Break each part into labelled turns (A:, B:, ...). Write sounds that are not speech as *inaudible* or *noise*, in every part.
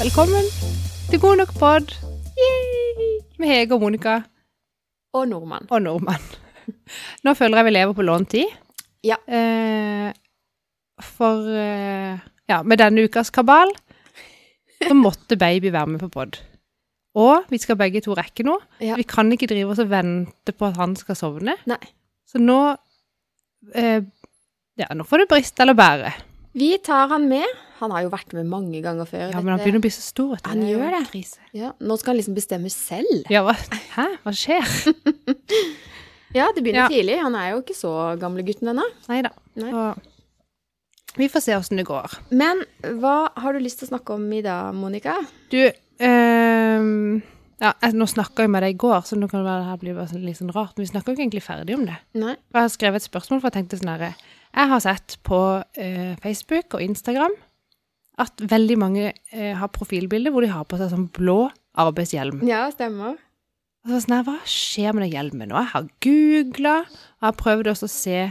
A: velkommen til God nok pod med Hege og Monica
B: Og nordmann.
A: og nordmann. Nå føler jeg vi lever på lånt tid.
B: Ja.
A: Eh, for eh, ja, med denne ukas kabal så måtte baby være med på pod. Og vi skal begge to rekke noe.
B: Ja.
A: Vi kan ikke drive oss og vente på at han skal sovne.
B: Nei.
A: Så nå eh, Ja, nå får det briste eller bære.
B: Vi tar han med. Han har jo vært med mange ganger før.
A: Ja, men han begynner å bli så stor. vet du.
B: Han
A: er jo
B: gjør det.
A: Krise.
B: ja, nå skal han liksom bestemme selv.
A: Ja, hva, hæ? Hva skjer?
B: Ja, det begynner
A: Ja.
B: tidlig. Han er jo ikke så gamle gutten ennå.
A: Nei da.
B: Nei.
A: Vi får se åssen det går.
B: Men hva har du lyst til å snakke om i dag, Monica?
A: Du ehm, ja, jeg, Nå snakka jeg med deg i går, så nå kan det være det her blir bare sånn, litt sånn rart. Men vi snakka jo ikke egentlig ferdig om det.
B: Nei.
A: Og Jeg har skrevet et spørsmål, for jeg tenkte sånn herre Jeg har sett på eh, Facebook og Instagram at veldig mange eh, har profilbilder hvor de har på seg sånn blå arbeidshjelm.
B: Ja, stemmer.
A: Og så var jeg sånn her, hva skjer med den hjelmen nå? Jeg har googla, og jeg har prøvd også å se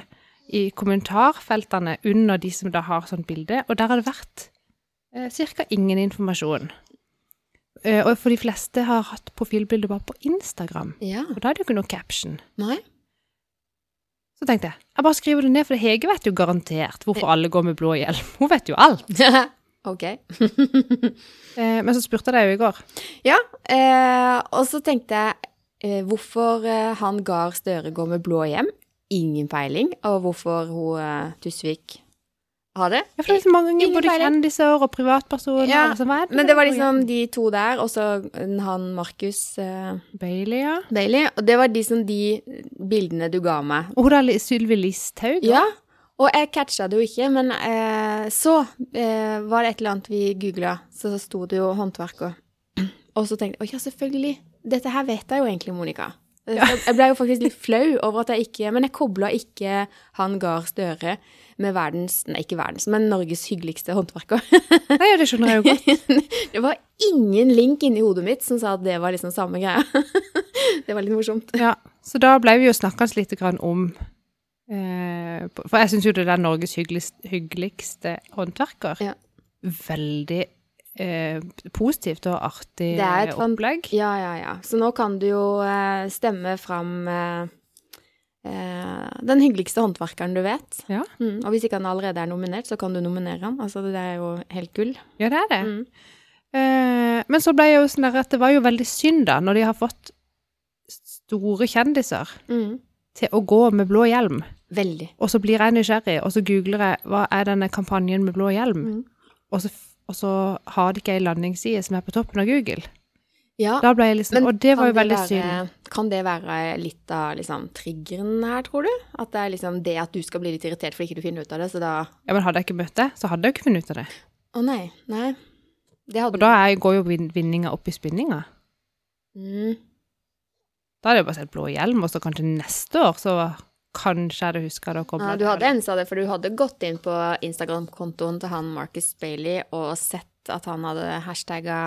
A: i kommentarfeltene under de som da har sånt bilde, og der har det vært eh, ca. ingen informasjon. Eh, og for de fleste har hatt profilbilde bare på Instagram,
B: Ja.
A: og da er det jo ikke noe caption.
B: Nei. *laughs*
A: Så tenkte jeg, jeg bare skriver det ned, for Hege vet jo garantert hvorfor alle går med blå hjelm. Hun vet jo alt.
B: ok.
A: Eh, men så spurte jeg deg jo i går.
B: Ja, eh, og så tenkte jeg eh, hvorfor eh, han Gahr Støre går med blå hjem. Ingen peiling. Og hvorfor hun eh, Tusvik har det.
A: Ja, for det er liksom mange ganger
B: Ingen
A: både
B: peiling.
A: kjendiser og privatpersoner.
B: Ja,
A: og sånn, hva er
B: Men det var
A: med blå
B: liksom de to der, og så eh, han Markus eh,
A: hjelm? Bailey, ja.
B: Bailey. Og det var de, som de bildene du ga meg.
A: Og hun der Li- Sylvi Listhaug.
B: Ja, og jeg catcha det jo ikke, men eh, så eh, var det et eller annet vi googla, så sto det jo håndverker. Og *clears throat* så tenkte jeg å ja, selvfølgelig. Dette her vet jeg jo egentlig, Monica. Jeg jeg ble jo faktisk litt flau over at jeg ikke Men jeg kobla ikke han Gahr Støre med verdens Nei, ikke verdens, men Norges hyggeligste håndverker. *laughs*
A: Nei, ja, det skjønner jeg jo godt.
B: Det var ingen link inni hodet mitt som sa at det var liksom samme greia. *laughs* Det var litt morsomt.
A: Ja, så da ble vi jo snakkende litt grann om eh, på- For jeg syns jo det der Norges hyggeligste, hyggeligste håndverker
B: Ja.
A: Veldig eh, positivt og artig
B: Det er et fan-
A: opplegg.
B: Ja, ja, ja. Så nå kan du jo eh, stemme fram eh, eh, den hyggeligste håndverkeren du vet.
A: Ja.
B: Mm, og hvis ikke han allerede er nominert, så kan du nominere han. Altså, det er jo helt gull.
A: Ja, det er det.
B: Mm.
A: Eh, men så ble jeg jo sånn der at det var jo veldig synd, da, når de har fått store kjendiser
B: Mm.
A: til å gå med blå hjelm.
B: Veldig.
A: Og så blir jeg nysgjerrig, og så googler jeg hva er denne kampanjen med blå hjelm.
B: Mm.
A: Og, så, f- og så har de ikke ei landingsside som er på toppen av Google.
B: Ja,
A: *laughs* Da ble jeg liksom, og det var jo veldig synd.
B: synd. Kan det være litt av liksom, triggeren her, tror du? At det er liksom det at du skal bli litt irritert fordi ikke du finner ut av det, så da
A: Ja, men hadde jeg ikke møtt det, så hadde jeg ikke funnet ut av det.
B: Å nei. Nei. Det hadde
A: Og da er, går jo vin- vinninga opp i spinninga.
B: mm.
A: Da hadde jeg bare sett blå hjelm, og så kanskje neste år, så kanskje jeg hadde huska det og kobla
B: Ja, du hadde ensa det, for du hadde gått inn på Instagram-kontoen til han Marcus Bailey og sett at han hadde hashtagga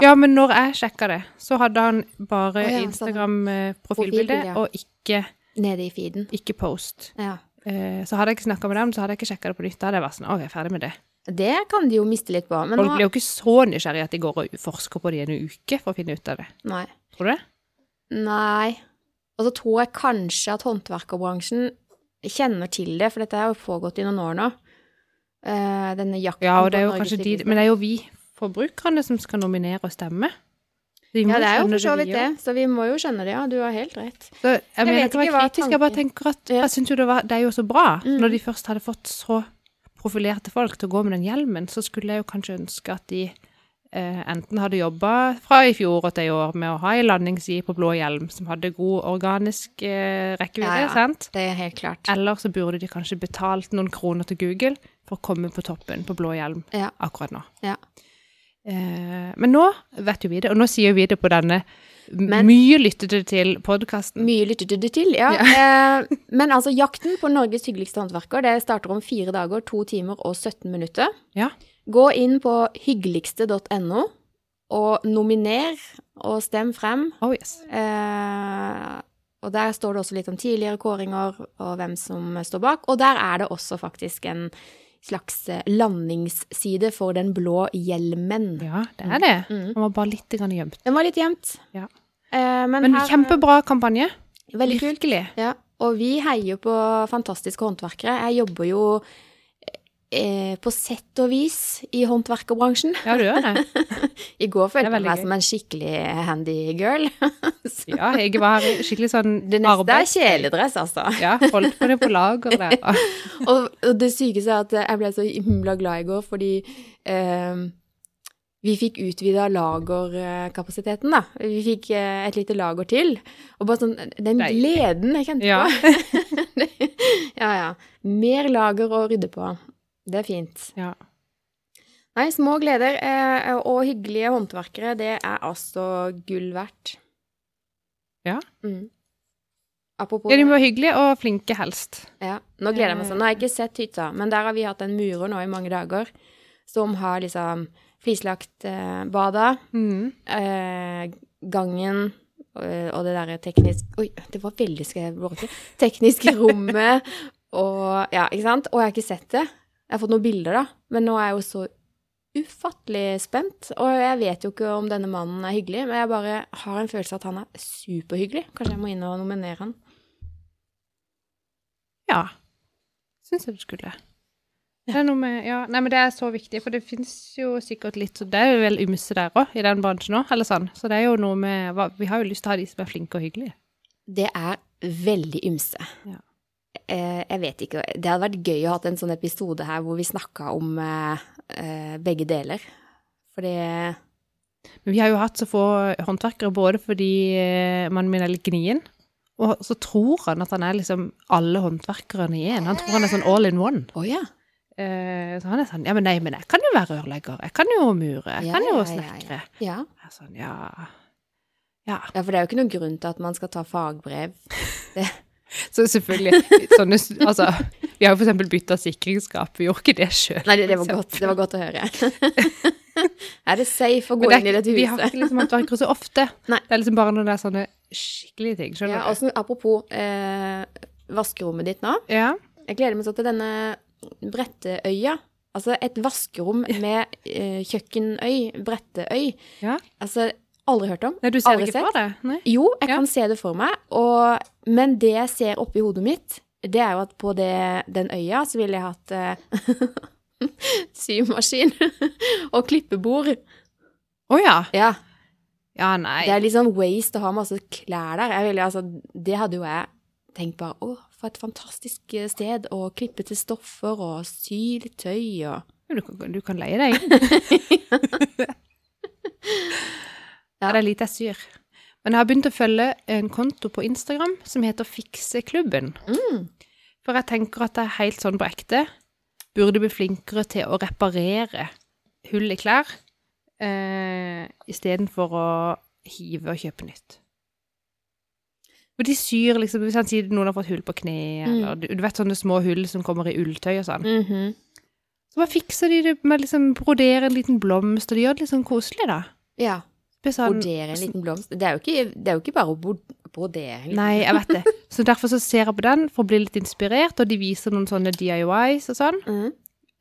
A: Ja, men når jeg sjekka det, så hadde han bare
B: Å ja,
A: Instagram-profilbilde
B: Profilbilde, ja.
A: og ikke,
B: nede i feeden.
A: ikke post.
B: Ja.
A: Eh, Så hadde jeg ikke snakka med dem, så hadde jeg ikke sjekka det på nytt. Da hadde jeg vært sånn, OK, ferdig med det.
B: Det kan de jo miste litt på. Men
A: Folk
B: nå
A: blir jo ikke så nysgjerrige at de går og forsker på det i en uke for å finne ut av det.
B: Nei.
A: Tror du det?
B: Nei. Og så tror jeg kanskje at håndverkerbransjen kjenner til det, for dette har jo pågått i noen år nå. Eh, denne jakten
A: Ja, og det er jo
B: på Norges
A: kanskje de
B: rikeste.
A: Men det er jo vi forbrukerne som skal nominere og stemme. Vi må
B: Ja, det er jo
A: skjønne
B: for så
A: vi
B: vidt
A: gjør.
B: det, så vi må jo skjønne det, ja. Du har helt rett.
A: Så jeg, mener
B: vet
A: ikke å
B: ikke
A: være
B: hva
A: kritisk, jeg bare
B: tanken-
A: tenker at
B: Ja.
A: jeg synes jo det, var, det er jo så bra.
B: Mm.
A: Når de først hadde fått så profilerte folk til å gå med den hjelmen, så skulle jeg jo kanskje ønske at de eh, enten hadde jobba fra i fjor og til i år med å ha ei landingsside på blå hjelm som hadde god organisk eh, rekkevidde,
B: Ja, ja.
A: sant?
B: Det er helt klart.
A: Eller så burde de kanskje betalt noen kroner til Google for å komme på toppen på blå hjelm
B: Ja.
A: akkurat nå.
B: Ja.
A: Eh, men nå vet jo vi det, og nå sier vi det på denne
B: Men-
A: mye lyttede til podkasten.
B: Mye lyttet du til, ja. *laughs* Eh, men altså, jakten på Norges hyggeligste håndverker, det starter om fire dager, to timer og 17 minutter.
A: Ja.
B: Gå inn på hyggeligste.no og nominer og stem frem.
A: Oh yes.
B: Eh, og der står det også litt om tidligere kåringer og hvem som står bak. Og der er det også faktisk en slags eh, landingsside for den blå hjelmen.
A: Ja, det er det.
B: Mm.
A: Den var bare litt grann gjemt.
B: Den var litt gjemt.
A: Ja.
B: Eh, men
A: Men
B: her,
A: kjempebra kampanje.
B: Veldig kult.
A: Virkelig.
B: Ja, og vi heier på fantastiske håndverkere. Jeg jobber jo eh, på sett og vis i håndverkerbransjen.
A: Ja, du gjør det.
B: I går
A: Det er
B: følte jeg
A: veldig
B: meg
A: gøy.
B: som en skikkelig handy girl. Så
A: Ja, jeg var skikkelig sånn
B: *laughs* det neste er
A: arbeid.
B: kjeledress, altså.
A: Ja, holdt på det på
B: *laughs*
A: lager der.
B: Og, og det sykeste er at jeg ble så himla glad i går fordi eh, vi fikk utvida lagerkapasiteten, da. Vi fikk eh, et lite lager til. Og bare sånn Den
A: Deilig.
B: gleden jeg kjente
A: Ja.
B: på. *laughs* ja, ja. Mer lager å rydde på. Det er fint.
A: Ja.
B: Nei, små gleder eh, og hyggelige håndverkere, det er altså gull verdt.
A: Ja.
B: Mm. Apropos
A: ja, de var hyggelige og flinke helst.
B: ja, nå gleder jeg meg sånn. Nå har jeg ikke sett hytta, men der har vi hatt en murer nå i mange dager som har liksom flislagt eh, bada,
A: Mm.
B: eh, gangen eh, og det derre teknisk Oi, det var veldig skrevet. Tekniske rommet og Ja, ikke sant? Og jeg har ikke sett det. Jeg har fått noen bilder, da, men nå er jeg jo så ufattelig spent. Og jeg vet jo ikke om denne mannen er hyggelig, men jeg bare har en følelse av at han er superhyggelig. Kanskje jeg må inn og nominere han.
A: Ja. Syns jeg du skulle. Det er noe med, ja, nei, men det er så viktig, for det fins jo sikkert litt så Det er jo vel ymse der òg, i den bransjen òg, eller sånn. Så det er jo noe med hva, Vi har jo lyst til å ha de som er flinke og hyggelige.
B: Det er veldig ymse.
A: Ja.
B: Eh, jeg vet ikke, Det hadde vært gøy å ha en sånn episode her hvor vi snakka om eh, eh, begge deler. For det
A: Men vi har jo hatt så få eh, håndverkere, både fordi eh, mannen min er litt gnien, og så tror han at han er liksom alle håndverkerne i én. Han tror han er sånn all in one.
B: Å ja.
A: Eh, så han er sånn Ja, men nei, men jeg kan jo være rørlegger. Jeg kan jo mure. Jeg
B: Ja,
A: kan jo
B: ja, ja, ja.
A: snekre.
B: ja.
A: Jeg er sånn, ja Ja.
B: Ja, for det er jo ikke noen grunn til at man skal ta fagbrev.
A: Så selvfølgelig sånne, altså, Vi har jo f.eks. bytta sikringsskap. Vi gjorde ikke det sjøl.
B: Nei, det, det, var godt, det var godt å høre. *laughs* er det safe å gå inn i dette
A: Vi har
B: huset?
A: ikke liksom håndverkere så ofte.
B: *laughs* Nei.
A: Det er liksom bare når det er sånne skikkelige ting. Skjønner
B: Ja, altså, apropos eh, vaskerommet ditt nå.
A: du? Ja.
B: Jeg gleder meg sånn til denne Bretteøya. Altså et vaskerom med eh, kjøkkenøy, Bretteøy.
A: ja.
B: Altså, aldri hørt om.
A: Nei, du ser
B: aldri
A: ikke for deg? Nei.
B: Jo, jeg
A: Ja.
B: kan se det for meg, og, men det jeg ser oppi hodet mitt, det er jo at på det, den øya så ville jeg hatt eh, *laughs* symaskin og klippebord.
A: Å ja.
B: Ja,
A: Ja, nei.
B: det er litt sånn waste å ha masse klær der. Jeg ville, altså, det hadde jo jeg tenkt bare, å, for et fantastisk eh, sted å klippe til stoffer og sy litt tøy og...
A: Du kan, du kan leie
B: *laughs*
A: deg inn. ja. Det er lite jeg syr. Men jeg har begynt å følge en konto på Instagram som heter Fikseklubben.
B: Mm.
A: For jeg tenker at det er helt sånn på ekte. Burde bli flinkere til å reparere hull i klær eh, istedenfor å hive og kjøpe nytt. For de syr liksom Hvis han sier noen har fått hull på kneet,
B: Mm.
A: eller du, du vet sånne små hull som kommer i ulltøy og sånn.
B: Mhm.
A: Så bare fikser de det med liksom brodere en liten blomst, og de gjør det litt sånn koselig, da.
B: Ja,
A: Det er Sånn,
B: brodere en liten blomst. Det er jo ikke, det er jo ikke bare å bod- brodere en liten
A: nei, jeg vet det. Så derfor så ser jeg på den for å bli litt inspirert, og de viser noen sånne DIYs og sånn.
B: Mhm.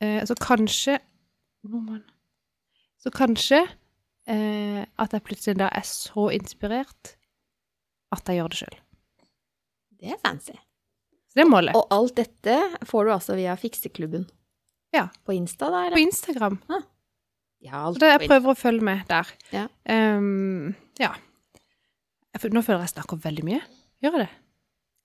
A: Eh, så kanskje Hvor må man- Så kanskje eh, at jeg plutselig da er så inspirert at jeg gjør det sjøl.
B: Det er fancy.
A: Så det er målet.
B: Og alt dette får du altså via Fikseklubben.
A: Ja.
B: På Insta, da?
A: På
B: Eller?
A: Instagram.
B: Ja, alt
A: Så da jeg
B: på Insta.
A: prøver å følge med der.
B: Ja.
A: Ehm, ja. Jeg føl- Nå føler jeg jeg snakker veldig mye. Gjør jeg det?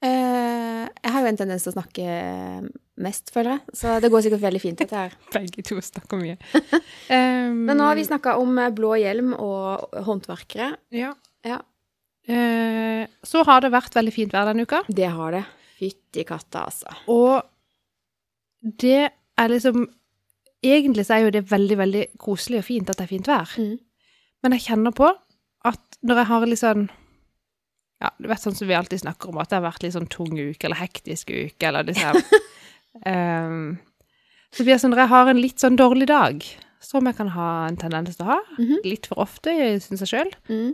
B: Eh, jeg har jo en tendens til å snakke eh, mest, føler jeg. Så det går sikkert veldig fint, *laughs* dette her.
A: *laughs* Begge to snakker
B: *laughs*
A: mye. Ehm,
B: Men nå har vi snakka om eh, blå hjelm og håndverkere.
A: ja.
B: Ja.
A: Eh, så har det vært veldig fint vær denne uka,
B: Det har det. Fytti katta, altså.
A: og det er liksom Egentlig så er jo det veldig, veldig koselig og fint at det er fint vær,
B: Mm.
A: men jeg kjenner på at når jeg har litt sånn Ja, du vet sånn som vi alltid snakker om, at det har vært litt sånn tung uke, eller hektisk uke, eller
B: *laughs*
A: liksom ehm, Så blir det sånn når jeg har en litt sånn dårlig dag, som jeg kan ha en tendens til å ha,
B: Mhm.
A: litt for ofte, syns jeg sjøl,
B: Mm.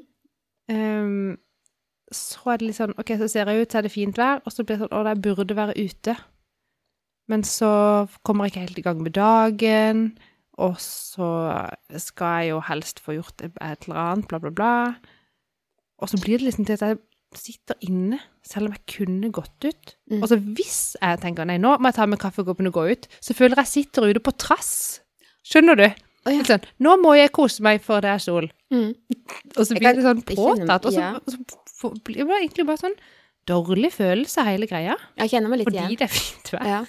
A: Ehm, så er det litt sånn, ok, så ser jeg ut, så er det fint vær, og så blir det sånn, å, jeg burde være ute. Men så kommer jeg ikke helt i gang med dagen, og så skal jeg jo helst få gjort et et eller annet, bla, bla, bla. Og så blir det liksom til at jeg sitter inne, selv om jeg kunne gått ut.
B: Mm.
A: Og så hvis jeg tenker nei, nå må jeg ta med kaffekoppen og gå ut, så føler jeg sitter ute på trass. Skjønner du?
B: Å, ja.
A: Litt sånn, nå må jeg kose meg, for det er sol.
B: Mm.
A: Og så
B: Jeg
A: blir
B: kan
A: det sånn
B: kjenne meg-
A: påtatt, og så,
B: ja.
A: og så f- blir det egentlig bare sånn dårlig følelse, hele greia.
B: Jeg kjenner meg litt
A: Fordi
B: igjen.
A: det er fint vær.
B: Ja.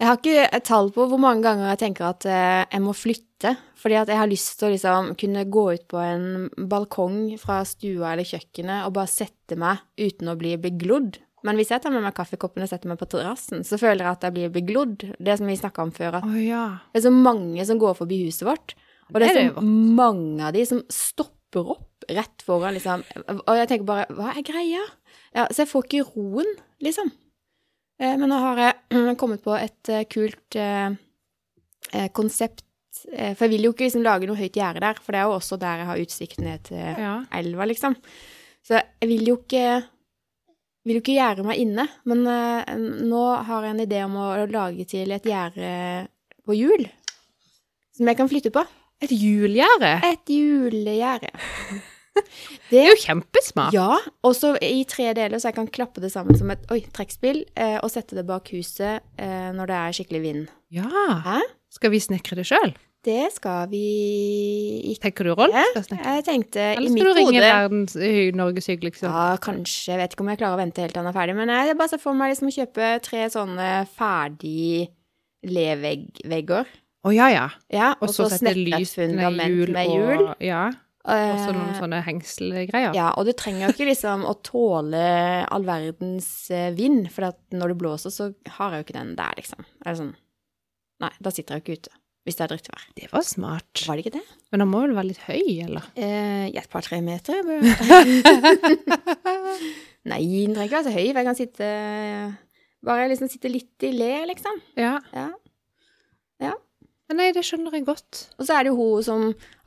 B: Jeg har ikke et tall på hvor mange ganger jeg tenker at eh, jeg må flytte, fordi at jeg har lyst til å liksom kunne gå ut på en balkong fra stua eller kjøkkenet og bare sette meg uten å bli beglodd. Men hvis jeg tar med meg kaffekoppen og setter meg på terrassen, så føler jeg at jeg blir beglodd. Det som vi snakka om før, at
A: Å ja.
B: det er så mange som går forbi huset vårt. Og
A: Det
B: det er
A: er det
B: så mange av de som stopper opp rett foran, liksom. Og jeg tenker bare, hva er greia? Ja, så jeg får ikke roen, liksom. Eh, Men nå har jeg *clears throat* kommet på et eh, kult eh, eh, konsept. Eh, For jeg vil jo ikke liksom lage noe høyt gjerde der, for det er jo også der jeg har utsikt ned til
A: ja.
B: elva, liksom. Så jeg vil jo ikke vil jo ikke gjerde meg inne, men eh, nå har jeg en idé om å lage til et gjerde på hjul. Som jeg kan flytte på.
A: Et julegjerde.
B: Et julegjerde.
A: Det er jo kjempesmart.
B: Ja, og så i tre deler, så jeg kan klappe det sammen som et oi, trekkspill, eh, og sette det bak huset eh, når det er skikkelig vind.
A: Ja.
B: Hæ?
A: Skal vi snekre det sjøl?
B: Det skal vi ikke.
A: Tenker du, Rolf?
B: Ja,
A: Skal snekre?
B: Jeg tenkte
A: Eller
B: i
A: skal
B: mitt
A: du ringe
B: hode
A: verdens, i Norges hyggeligste?
B: Ja, kanskje. Jeg vet ikke om jeg klarer å vente helt til han er ferdig. Men jeg bare ser for meg liksom å kjøpe tre sånne ferdig levegger.
A: Å ja, ja.
B: Ja,
A: Og så sette
B: snekre et
A: lysene i
B: fundament
A: hjul
B: med hjul.
A: og Ja. Og så noen
B: Eh,
A: sånne hengselgreier.
B: Ja, og du trenger jo ikke liksom å tåle all verdens eh, vind, for at når det blåser, så har jeg jo ikke den der, liksom. Eller sånn. Nei, da sitter jeg jo ikke ute, hvis det er drittvær.
A: Det var smart.
B: Var det ikke det?
A: Men han må vel være litt høy, eller?
B: Eh, ja, et par-tre meter. jeg bør-
A: *laughs*
B: Nei, den trenger ikke være så høy, for jeg kan sitte Bare liksom sitte litt i le, liksom.
A: Ja.
B: Ja. Ja.
A: Men Nei, det skjønner jeg godt.
B: Og så er det jo hun som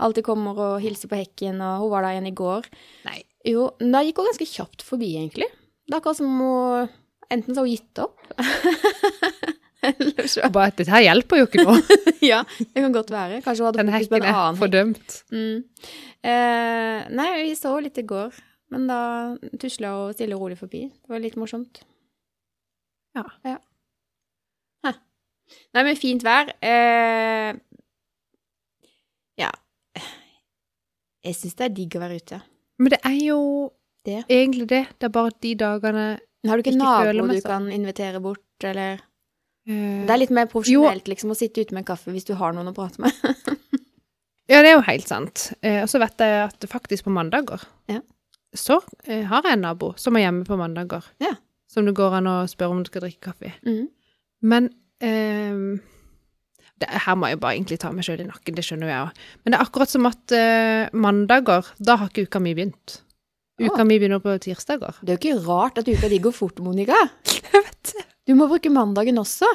B: alltid kommer og hilser på hekken, og hun var der igjen i går. *laughs*
A: Nei.
B: Jo, men da gikk hun ganske kjapt forbi, egentlig. Det er akkurat som hun Enten så har hun gitt opp, *laughs* eller så
A: Bare at dette her hjelper jo ikke
B: *laughs*
A: nå.
B: Ja, det kan godt være. Kanskje hun hadde
A: Den
B: fokus på
A: hekken
B: en
A: er
B: annen hekk.
A: fordømt.
B: Mm. Eh, nei, vi så henne litt i går, men da tusla hun stille og rolig forbi. Det var litt morsomt.
A: Ja.
B: Hæ. Nei, men fint vær. Eh, ja. Jeg syns det er digg å være ute.
A: Men det er jo
B: Det.
A: egentlig det. Det er bare de dagene
B: Men Har du ikke,
A: Ikke
B: en
A: føle
B: nabo
A: meg
B: du
A: sånn.
B: kan invitere bort, eller
A: eh,
B: Det er litt mer profesjonelt liksom, å sitte ute med en kaffe hvis du har noen å prate med.
A: Ja, det er jo helt sant. Eh, og så vet jeg at faktisk på mandager
B: Ja.
A: så eh, har jeg en nabo som er hjemme på mandager.
B: Ja.
A: Som det går an å spørre om du skal drikke kaffe.
B: *laughs* Mm.
A: Men ehm, det, her må jeg bare egentlig ta meg sjøl i nakken, det skjønner jo jeg òg. Men det er akkurat som at eh, mandager, da har ikke uka mi begynt. Uka
B: Å.
A: mi begynner på tirsdager.
B: Det er jo ikke rart at uka di går fort, *laughs* Monica.
A: Jeg vet det.
B: Du må bruke mandagen også.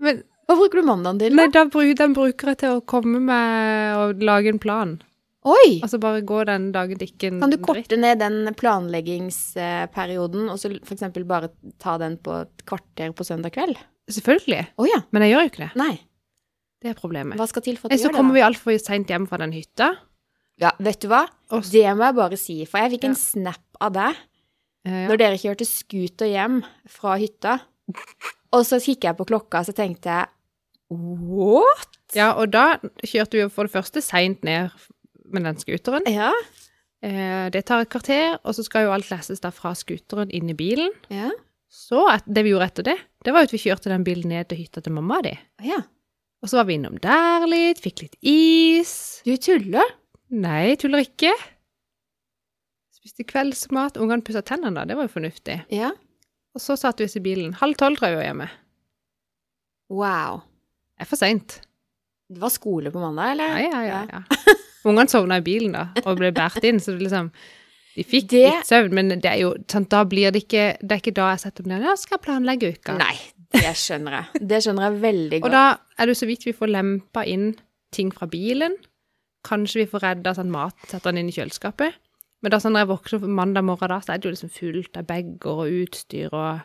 A: Men
B: Hva bruker du mandagen til?
A: nei, da, bru- den bruker jeg til å komme med og lage en plan.
B: Oi!
A: Altså bare gå den dagen det ikke er en
B: Kan du
A: dritt.
B: korte ned den planleggingsperioden, og så f.eks. bare ta den på et kvarter på søndag kveld?
A: Selvfølgelig.
B: Å ja.
A: Men jeg gjør jo ikke det.
B: Nei.
A: Det er problemet.
B: Hva skal til for at
A: Nei,
B: du
A: så
B: gjør det?
A: kommer vi altfor seint hjem fra den hytta.
B: da? Ja, vet du hva?
A: Og s-
B: Det må jeg bare si, for jeg fikk
A: Ja.
B: en snap av deg
A: Eh, ja.
B: når dere kjørte scooter hjem fra hytta. Og så kikket jeg på klokka, så tenkte jeg What?
A: ja, og da kjørte vi jo for det første seint ned med den scooteren.
B: Ja.
A: Eh, det tar et kvarter, og så skal jo alt leses da fra scooteren inn i bilen.
B: Ja.
A: Så at, det vi gjorde etter det, det var jo at vi kjørte den bilen ned til hytta til mamma di.
B: ja.
A: Og så var vi innom der litt, fikk litt is.
B: Du tuller?
A: Nei, tuller ikke. Spiste kveldsmat. Ungene pussa tennene, da. Det var jo fornuftig.
B: Ja.
A: Og så satt vi oss i bilen. Halv tolv drev vi var hjemme.
B: Wow.
A: Det er for seint.
B: Det var skole på mandag, eller?
A: Ja, ja, ja. ja. Ungene sovna i bilen da, og ble båret inn, så det liksom De fikk
B: Det-
A: litt søvn, men det er jo sant, da blir det ikke Det er ikke da jeg setter meg ned og skal jeg planlegge uka.
B: Nei, det skjønner jeg. Det skjønner jeg veldig
A: Og
B: godt.
A: da er det jo så vidt vi får lempa inn ting fra bilen. Kanskje vi får redda sånn mat, setter den inn i kjøleskapet. Men da sånn når jeg våkner på mandag morgen, da, så er det jo liksom fullt av bager og utstyr og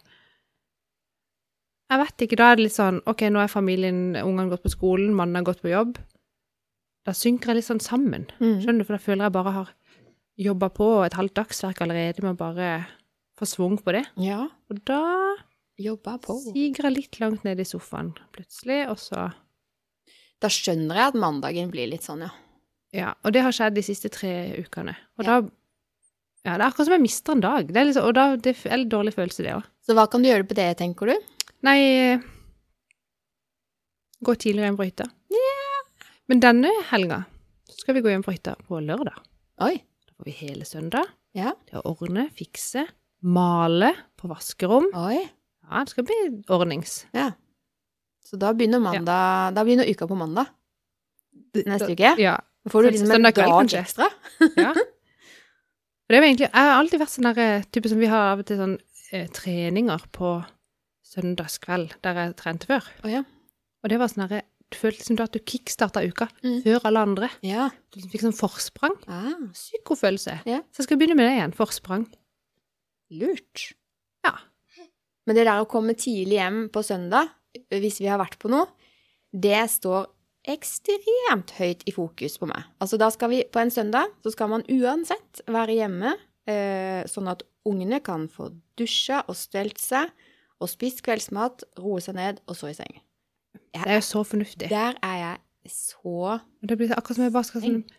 A: Jeg vet ikke. Da er det litt sånn OK, nå er familien, ungene gått på skolen, mannen har gått på jobb. Da synker jeg litt sånn sammen.
B: Mm.
A: Skjønner du? For da føler jeg bare har jobba på et halvt dagsverk allerede med å bare få svung på det.
B: Ja.
A: Og da
B: Jobba på.
A: siger jeg litt langt ned i sofaen plutselig, og så
B: Da skjønner jeg at mandagen blir litt sånn, ja.
A: Ja, og det har skjedd de siste tre ukene. Og
B: Ja.
A: da Ja, det er akkurat som jeg mister en dag. Det er liksom, og da, det er en dårlig følelse, det òg.
B: Så hva kan du gjøre på det, tenker du?
A: Nei eh, Gå tidligere hjem på hytta. Men denne helga så skal vi gå hjem på hytta på lørdag.
B: Oi.
A: Da får vi hele søndag.
B: Ja.
A: Det å ordne, fikse, male på vaskerom.
B: Oi.
A: Ja, det skal bli ordnings.
B: Ja. Så da begynner, mandag, da begynner uka på mandag. Neste uke.
A: Ja.
B: Da får du
A: så-
B: liksom en
A: søndag kveld,
B: dag
A: kanskje.
B: ekstra.
A: ja. For det var egentlig, jeg har alltid vært sånn der, eh, type som vi har av og til sånn eh, treninger på søndagskveld, der jeg trente før.
B: Å ja.
A: Og det var sånn der, du følte som du at du kickstarta uka
B: Mm.
A: før alle andre.
B: Ja.
A: Du fikk sånn forsprang.
B: Ah,
A: Sykt god følelse.
B: Ja.
A: Så jeg skal begynne med det igjen. Forsprang.
B: lurt.
A: Ja.
B: Men det der å komme tidlig hjem på søndag, hvis vi har vært på noe, det står ekstremt høyt i fokus på meg. Altså da skal vi, på en søndag, så skal man uansett være hjemme, eh, sånn at ungene kan få dusja og stelt seg, og spist kveldsmat, roe seg ned, og så i seng.
A: Det er jo så fornuftig.
B: Der er jeg så
A: Og det blir akkurat som jeg bare skal sånn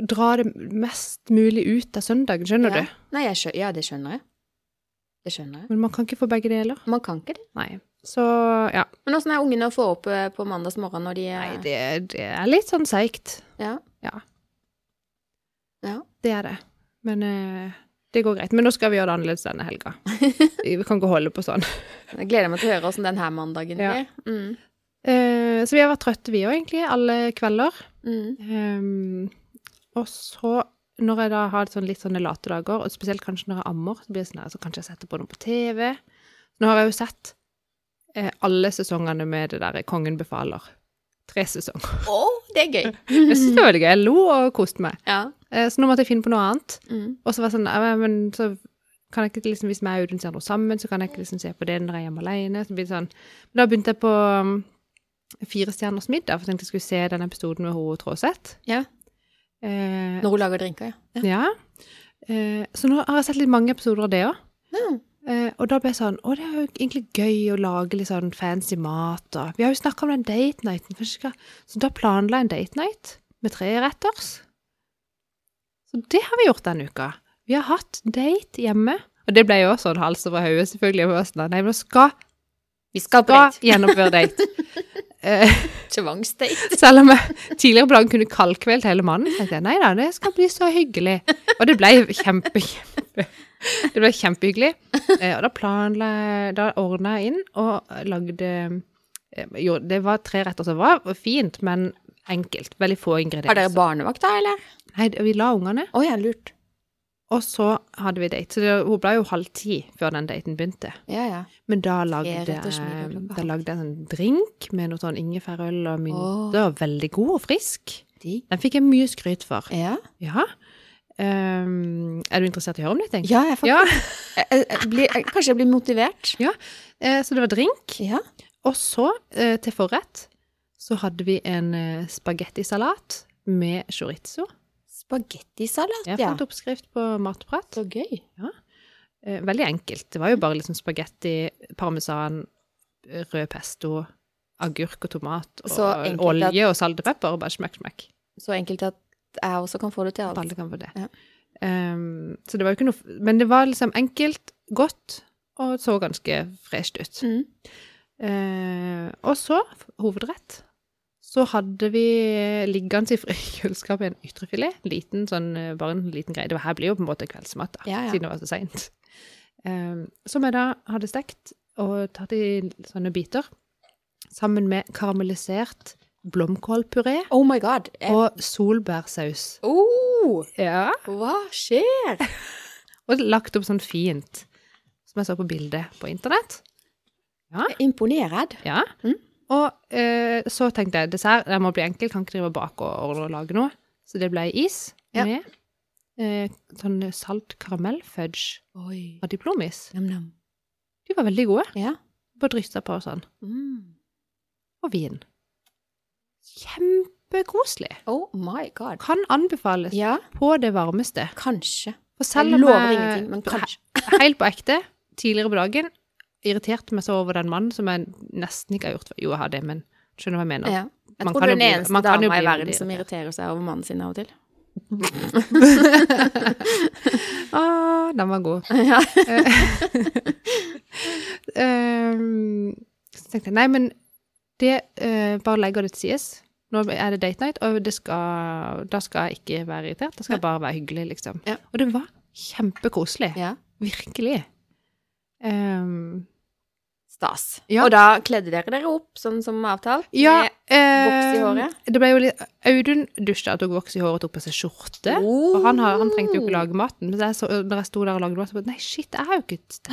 A: Dra det mest mulig ut av søndagen, skjønner
B: ja.
A: du?
B: Nei, jeg skjø ja, det skjønner jeg. Det skjønner jeg.
A: Men man kan ikke få begge deler.
B: Man kan ikke det.
A: Nei. Så ja.
B: Men åssen er ungene å få opp eh, på mandagsmorgen når de eh,
A: Nei, det, det er litt sånn seigt.
B: ja.
A: Det er det. Men eh, det går greit. Men nå skal vi gjøre det annerledes denne helga. Vi kan ikke holde på sånn.
B: Jeg gleder meg til å høre åssen den her mandagen
A: Ja.
B: blir. Mm.
A: Eh, så vi har vært trøtte, vi òg, egentlig, alle kvelder.
B: Mm.
A: Ehm, og så, når jeg da har sånn litt sånne late dager, og spesielt kanskje når jeg ammer, så blir det sånn her, så kanskje jeg setter på noe på TV. Nå har jeg jo sett eh, alle sesongene med det derre Kongen befaler. Tre
B: *laughs*
A: sesonger.
B: Å, det er gøy!
A: Jeg synes det var veldig gøy. Jeg lo og koste meg.
B: Ja.
A: Eh, så nå måtte jeg finne på noe annet.
B: Mm.
A: Og så var det sånn, ja, men så kan jeg ikke liksom, hvis vi er uten hverandre sammen, så kan jeg ikke liksom se på det når jeg er hjemme alene. Så blir det sånn. Men da begynte jeg på um, Fire stjerners middag, for jeg tenkte jeg skulle se den episoden med Hore Tråseth.
B: Ja.
A: Eh,
B: Når hun lager drinker, ja.
A: ja. Eh, så nå har jeg sett litt mange episoder av det òg.
B: ja.
A: Eh, og da ble jeg sånn, å det er jo egentlig gøy å lage litt sånn fancy mat. Og. Vi har jo snakket om den date nighten. kanskje vi skal- Så da planla jeg en date night med tre retters. Så det har vi gjort denne uka. Vi har hatt date hjemme. Og det ble jo også en hals over hodet, selvfølgelig. Jeg var sånn, Nei, men nå skal,
B: Vi skal på
A: skal
B: date.
A: gjennomføre date. Eh,
B: Tvangsdate.
A: selv om jeg tidligere på dagen kunne kaldkvelt hele mannen, tenkte jeg nei da, det skal bli så hyggelig. Og det ble kjempe, kjempe, det ble kjempehyggelig. Eh, Og da planla jeg, da ordna jeg inn og lagde eh, Jo, det var tre retter som var fint, men enkelt. Veldig få
B: Har dere
A: ingredienser.
B: barnevakt da, eller?
A: Nei, vi la ungene,
B: Å ja, lurt.
A: og så hadde vi date. Så det, hun ble jo halv ti før den daten begynte.
B: Ja, ja.
A: Men da lagde jeg,
B: retters middag klokka
A: da
B: halv.
A: lagde jeg en sånn drink med noe sånn ingefærøl og
B: Åh.
A: mynter. Veldig god og frisk.
B: De.
A: Den fikk jeg mye skryt for.
B: Ja.
A: Ja. Ehm, er du interessert i å høre om dette? egentlig?
B: ja, jeg får
A: Ja.
B: jeg, jeg, jeg blir, jeg, Kanskje jeg blir motivert?
A: Eh, så det var drink.
B: Ja.
A: Og så, eh, til forrett, så hadde vi en eh, spagettisalat med chorizo.
B: Spagettisalat,
A: Jeg
B: ja.
A: fant oppskrift på Matprat.
B: Så gøy.
A: Eh, veldig enkelt. Det var jo bare liksom spagetti, parmesan, eh, rød pesto, agurk og tomat, og
B: Så enkelt at-
A: olje og salt og pepper, og bare smekk, smekk.
B: Så enkelt at jeg også kan få det til
A: At
B: alt.
A: alle kan få det.
B: Ja.
A: Ehm, så det var jo ikke noe f- Men det var liksom enkelt, godt, og så ganske fresht ut.
B: Mm.
A: Eh, og så, hovedrett, så hadde vi liggende i fri- *laughs* kjøleskapet en ytrefilet. Liten, sånn, eh, bare en liten greie. Det var- her blir jo på en måte kveldsmat, da,
B: Ja, ja.
A: siden det var så seint. som jeg da hadde stekt og tatt i sånne biter, sammen med karamellisert blomkålpuré
B: Oh my god. Jeg,
A: og solbærsaus.
B: oh,
A: Ja.
B: hva skjer?
A: Og lagt opp sånn fint, som jeg så på bildet på internett.
B: Imponert.
A: Ja.
B: Mm.
A: Og eh, så tenkte jeg dessert, jeg må bli enkel, kan ikke drive og bake og ordne og lage noe. Så det ble is
B: Ja.
A: med eh, sånn salt karamellfudge
B: Oi.
A: og diplomis.
B: Nam-nam.
A: De var veldig gode
B: Ja.
A: på å drysse på og sånn.
B: Mm.
A: Og vin. Kjempekoselig.
B: Oh my god.
A: Kan anbefales
B: Ja,
A: på det varmeste.
B: kanskje.
A: For
B: Jeg
A: selv om
B: lover
A: jeg-
B: ingenting, men kanskje.
A: he- Helt på ekte, tidligere på dagen, irriterte meg så over den mannen som jeg nesten ikke har gjort før. Jo, jeg har det, men skjønner hva jeg mener.
B: Ja. Jeg
A: Man
B: tror
A: kan
B: du
A: jo
B: er den
A: bli-
B: eneste
A: man kan jo
B: dama i
A: bli
B: verden
A: veldig
B: som irriterer seg over mannen sin av og til.
A: Ah, den var god.
B: *laughs* Ja.
A: *laughs* Ehm, så tenkte jeg, nei, men det eh, bare legger det til sides. Nå er det date night, og det skal, da skal jeg ikke være irritert. Det skal bare være hyggelig, liksom.
B: Ja.
A: Og det var kjempekoselig.
B: ja.
A: Virkelig. Ehm,
B: Stas.
A: Ja.
B: Og da kledde dere dere opp, sånn som avtalt?
A: ja
B: Med-
A: eh,
B: voks i håret?
A: Det ble jo litt Audun dusja og tok voks i håret og tok på seg skjorte.
B: Oh.
A: Og han, har, han trengte jo ikke lage maten. Men da jeg, så, når jeg sto der og lagde mat, så bare Nei, shit, jeg har jo ikke et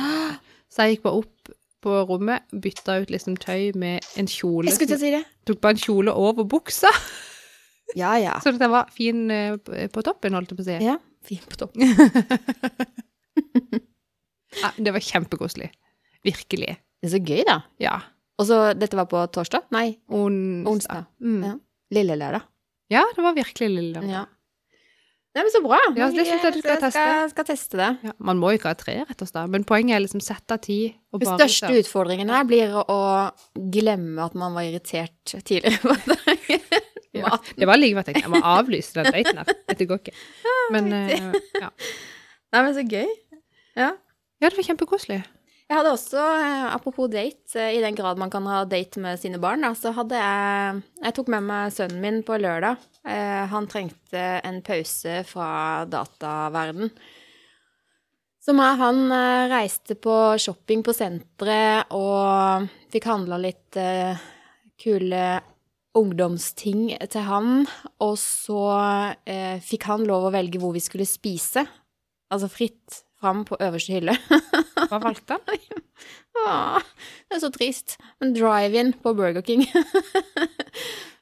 A: Så jeg gikk bare opp på rommet, bytta ut liksom tøy med en kjole.
B: Jeg skulle til å si det.
A: Tok bare en kjole over buksa,
B: *laughs*
A: *laughs*
B: Ja, ja.
A: sånn at jeg var fin eh, p- på toppen, holdt jeg på å si.
B: Ja, Fin på topp.
A: Nei, det var kjempekoselig. Virkelig.
B: Det er så gøy, da.
A: Ja.
B: Og så, dette var på torsdag? Nei,
A: Ons-
B: onsdag.
A: Mm.
B: Ja. Lille lørdag.
A: ja, det var virkelig lille.
B: Ja. Nei, men så bra.
A: Ja, det synes jeg du skal
B: skal,
A: teste.
B: skal teste det.
A: Ja, man må jo ikke ha tre rett og slett, men poenget er liksom sette av tid. og
B: Den
A: bare
B: største
A: liksom-
B: utfordringen her blir å glemme at man var irritert tidligere *laughs* på dagen.
A: Ja, det var like ved at jeg tenkte, jeg må avlyse den daten *laughs* her. Dette går ikke. Men eh, ja.
B: Nei, men så gøy. Ja.
A: ja, det var kjempekoselig.
B: Jeg hadde også, eh, apropos date, eh, i den grad man kan ha date med sine barn, da, så hadde jeg Jeg tok med meg sønnen min på lørdag. Eh, han trengte en pause fra dataverden. Så meg og han eh, reiste på shopping på senteret og fikk handla litt eh, kule ungdomsting til han. Og så eh, fikk han lov å velge hvor vi skulle spise. Altså fritt fram på øverste hylle. *laughs*
A: Hva valgte han?
B: Åh, det er så trist. En drive-in på Burger King. *laughs*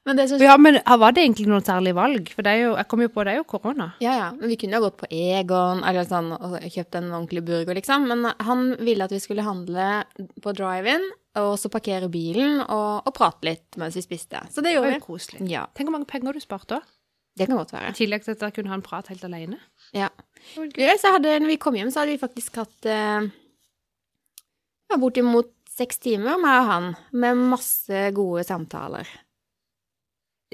B: men det som ja.
A: Ja, men var det egentlig noe særlig valg? For det er jo, jeg kom jo på, det er jo korona.
B: ja, Men vi kunne jo gått på Egon eller sånn, og kjøpt en ordentlig burger, liksom. Men han ville at vi skulle handle på drive-in, og så parkere bilen og, og prate litt mens vi spiste. Så det
A: Det var
B: gjorde
A: jo koselig.
B: vi. Ja,
A: Tenk hvor mange penger du sparte òg.
B: det kan godt
A: I
B: være.
A: tillegg til at jeg kunne ha en prat helt alene.
B: Ja.
A: Det var gøy.
B: Ja, så hadde, når vi kom hjem, så hadde vi faktisk hatt eh, ja, bortimot seks timer, meg og han, med masse gode samtaler.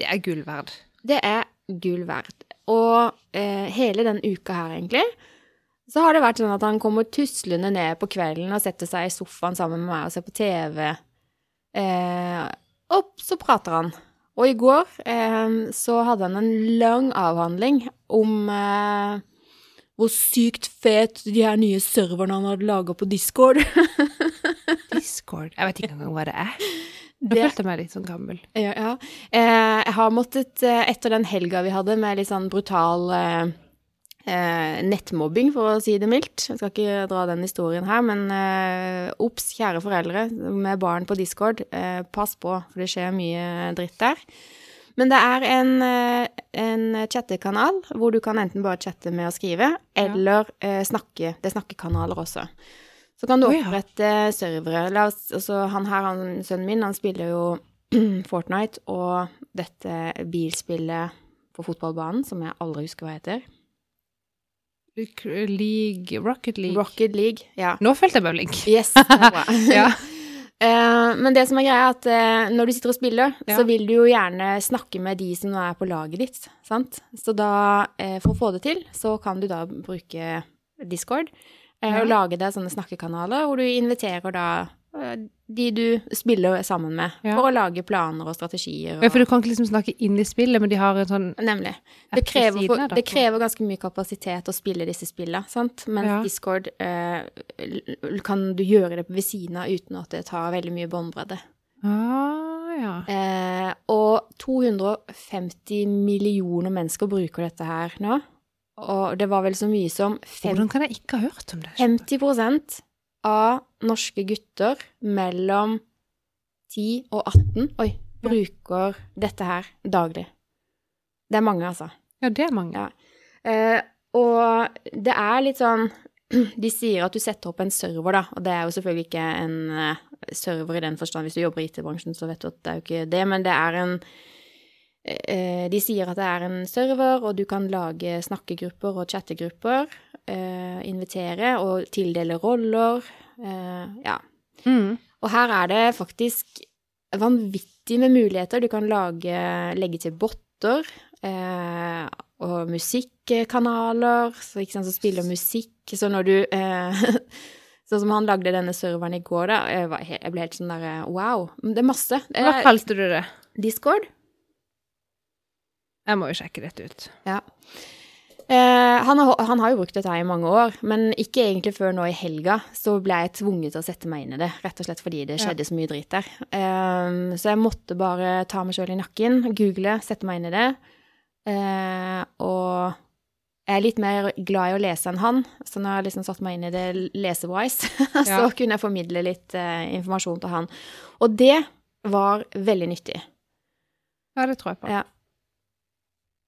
A: Det er gull verd.
B: Det er gull verdt. Og eh, hele den uka her, egentlig, så har det vært sånn at han kommer tuslende ned på kvelden og setter seg i sofaen sammen med meg og ser på TV. Eh, og så prater han. Og i går eh, så hadde han en lang avhandling om eh, hvor sykt fet de her nye serverne han hadde laga på Discord.
A: Discord Jeg vet ikke engang hva det er. Nå
B: Det-
A: følte jeg meg litt sånn gammel.
B: Ja, ja. Eh, jeg har måttet, eh, etter den helga vi hadde med litt sånn brutal eh, eh, nettmobbing, for å si det mildt Jeg skal ikke dra den historien her, men eh, obs, kjære foreldre med barn på Discord, eh, pass på, for det skjer mye dritt der. Men det er en, eh, en chattekanal hvor du kan enten bare chatte med å skrive, eller eh, snakke. Det er snakkekanaler også. Så kan du
A: Å, ja.
B: opprette servere. La oss, altså, han her, han, sønnen min, han spiller jo *clears throat* Fortnite og dette bilspillet på fotballbanen, som jeg aldri husker hva heter.
A: League Rocket League.
B: Rocket League. Ja.
A: Nå følte jeg meg blink.
B: Yes, det var *laughs* bra.
A: *laughs* Ja.
B: Eh, men det som er greia, er at eh, når du sitter og spiller,
A: Ja.
B: så vil du jo gjerne snakke med de som nå er på laget ditt, sant? Så da, eh, for å få det til, så kan du da bruke Discord eh, og lage deg sånne snakkekanaler hvor du inviterer da eh, de du spiller sammen med,
A: Ja.
B: for å lage planer og strategier. Og,
A: Ja, for du kan ikke liksom snakke inn i spillet, men de har en sånn
B: Nemlig.
A: app
B: Det
A: ved
B: krever,
A: siden
B: for,
A: av, da.
B: det krever ganske mye kapasitet å spille disse spillene, sant? Mens
A: Ja.
B: Discord eh, l- l- kan du gjøre det ved siden av uten at det tar veldig mye båndbredde.
A: Ah, ja.
B: Eh, og 250 millioner mennesker bruker dette her nå. Og det var vel så mye som fem-
A: Hvordan kan jeg ikke ha hørt om det?
B: 50 av norske gutter mellom 10 og 18 oi,
A: Ja.
B: bruker dette her daglig. Det er mange, altså.
A: Ja, det er mange.
B: Ja. Eh, og det er litt sånn *clears throat* De sier at du setter opp en server, da. Og det er jo selvfølgelig ikke en eh, server i den forstand. Hvis du jobber i IT-bransjen, så vet du at det er jo ikke det. Men det er en eh, De sier at det er en server, og du kan lage snakkegrupper og chattegrupper. eh, Invitere og tildele roller. eh, Ja.
A: Mm.
B: Og her er det faktisk vanvittig med muligheter. Du kan lage, legge til botter eh, og musikkanaler så, ikke sant, som spiller musikk. Så når du eh, *laughs* Sånn som han lagde denne serveren i går, da. Jeg, var, he- jeg ble helt sånn derre wow. Men Det er masse.
A: Hva
B: Eh,
A: kalte du det?
B: Discord.
A: Jeg må jo sjekke dette ut.
B: Ja. Eh, han, har, han har jo brukt dette her i mange år, men ikke egentlig før nå i helga så ble jeg tvunget til å sette meg inn i det, rett og slett fordi det
A: Ja.
B: skjedde så mye dritt der. Eh, så jeg måtte bare ta meg sjøl i nakken, google, sette meg inn i det. Eh, og jeg er litt mer glad i å lese enn han, så når jeg liksom satte meg inn i det lesewise, *laughs* så
A: Ja.
B: kunne jeg formidle litt eh, informasjon til han. Og det var veldig nyttig.
A: Ja, det tror jeg på.
B: Ja.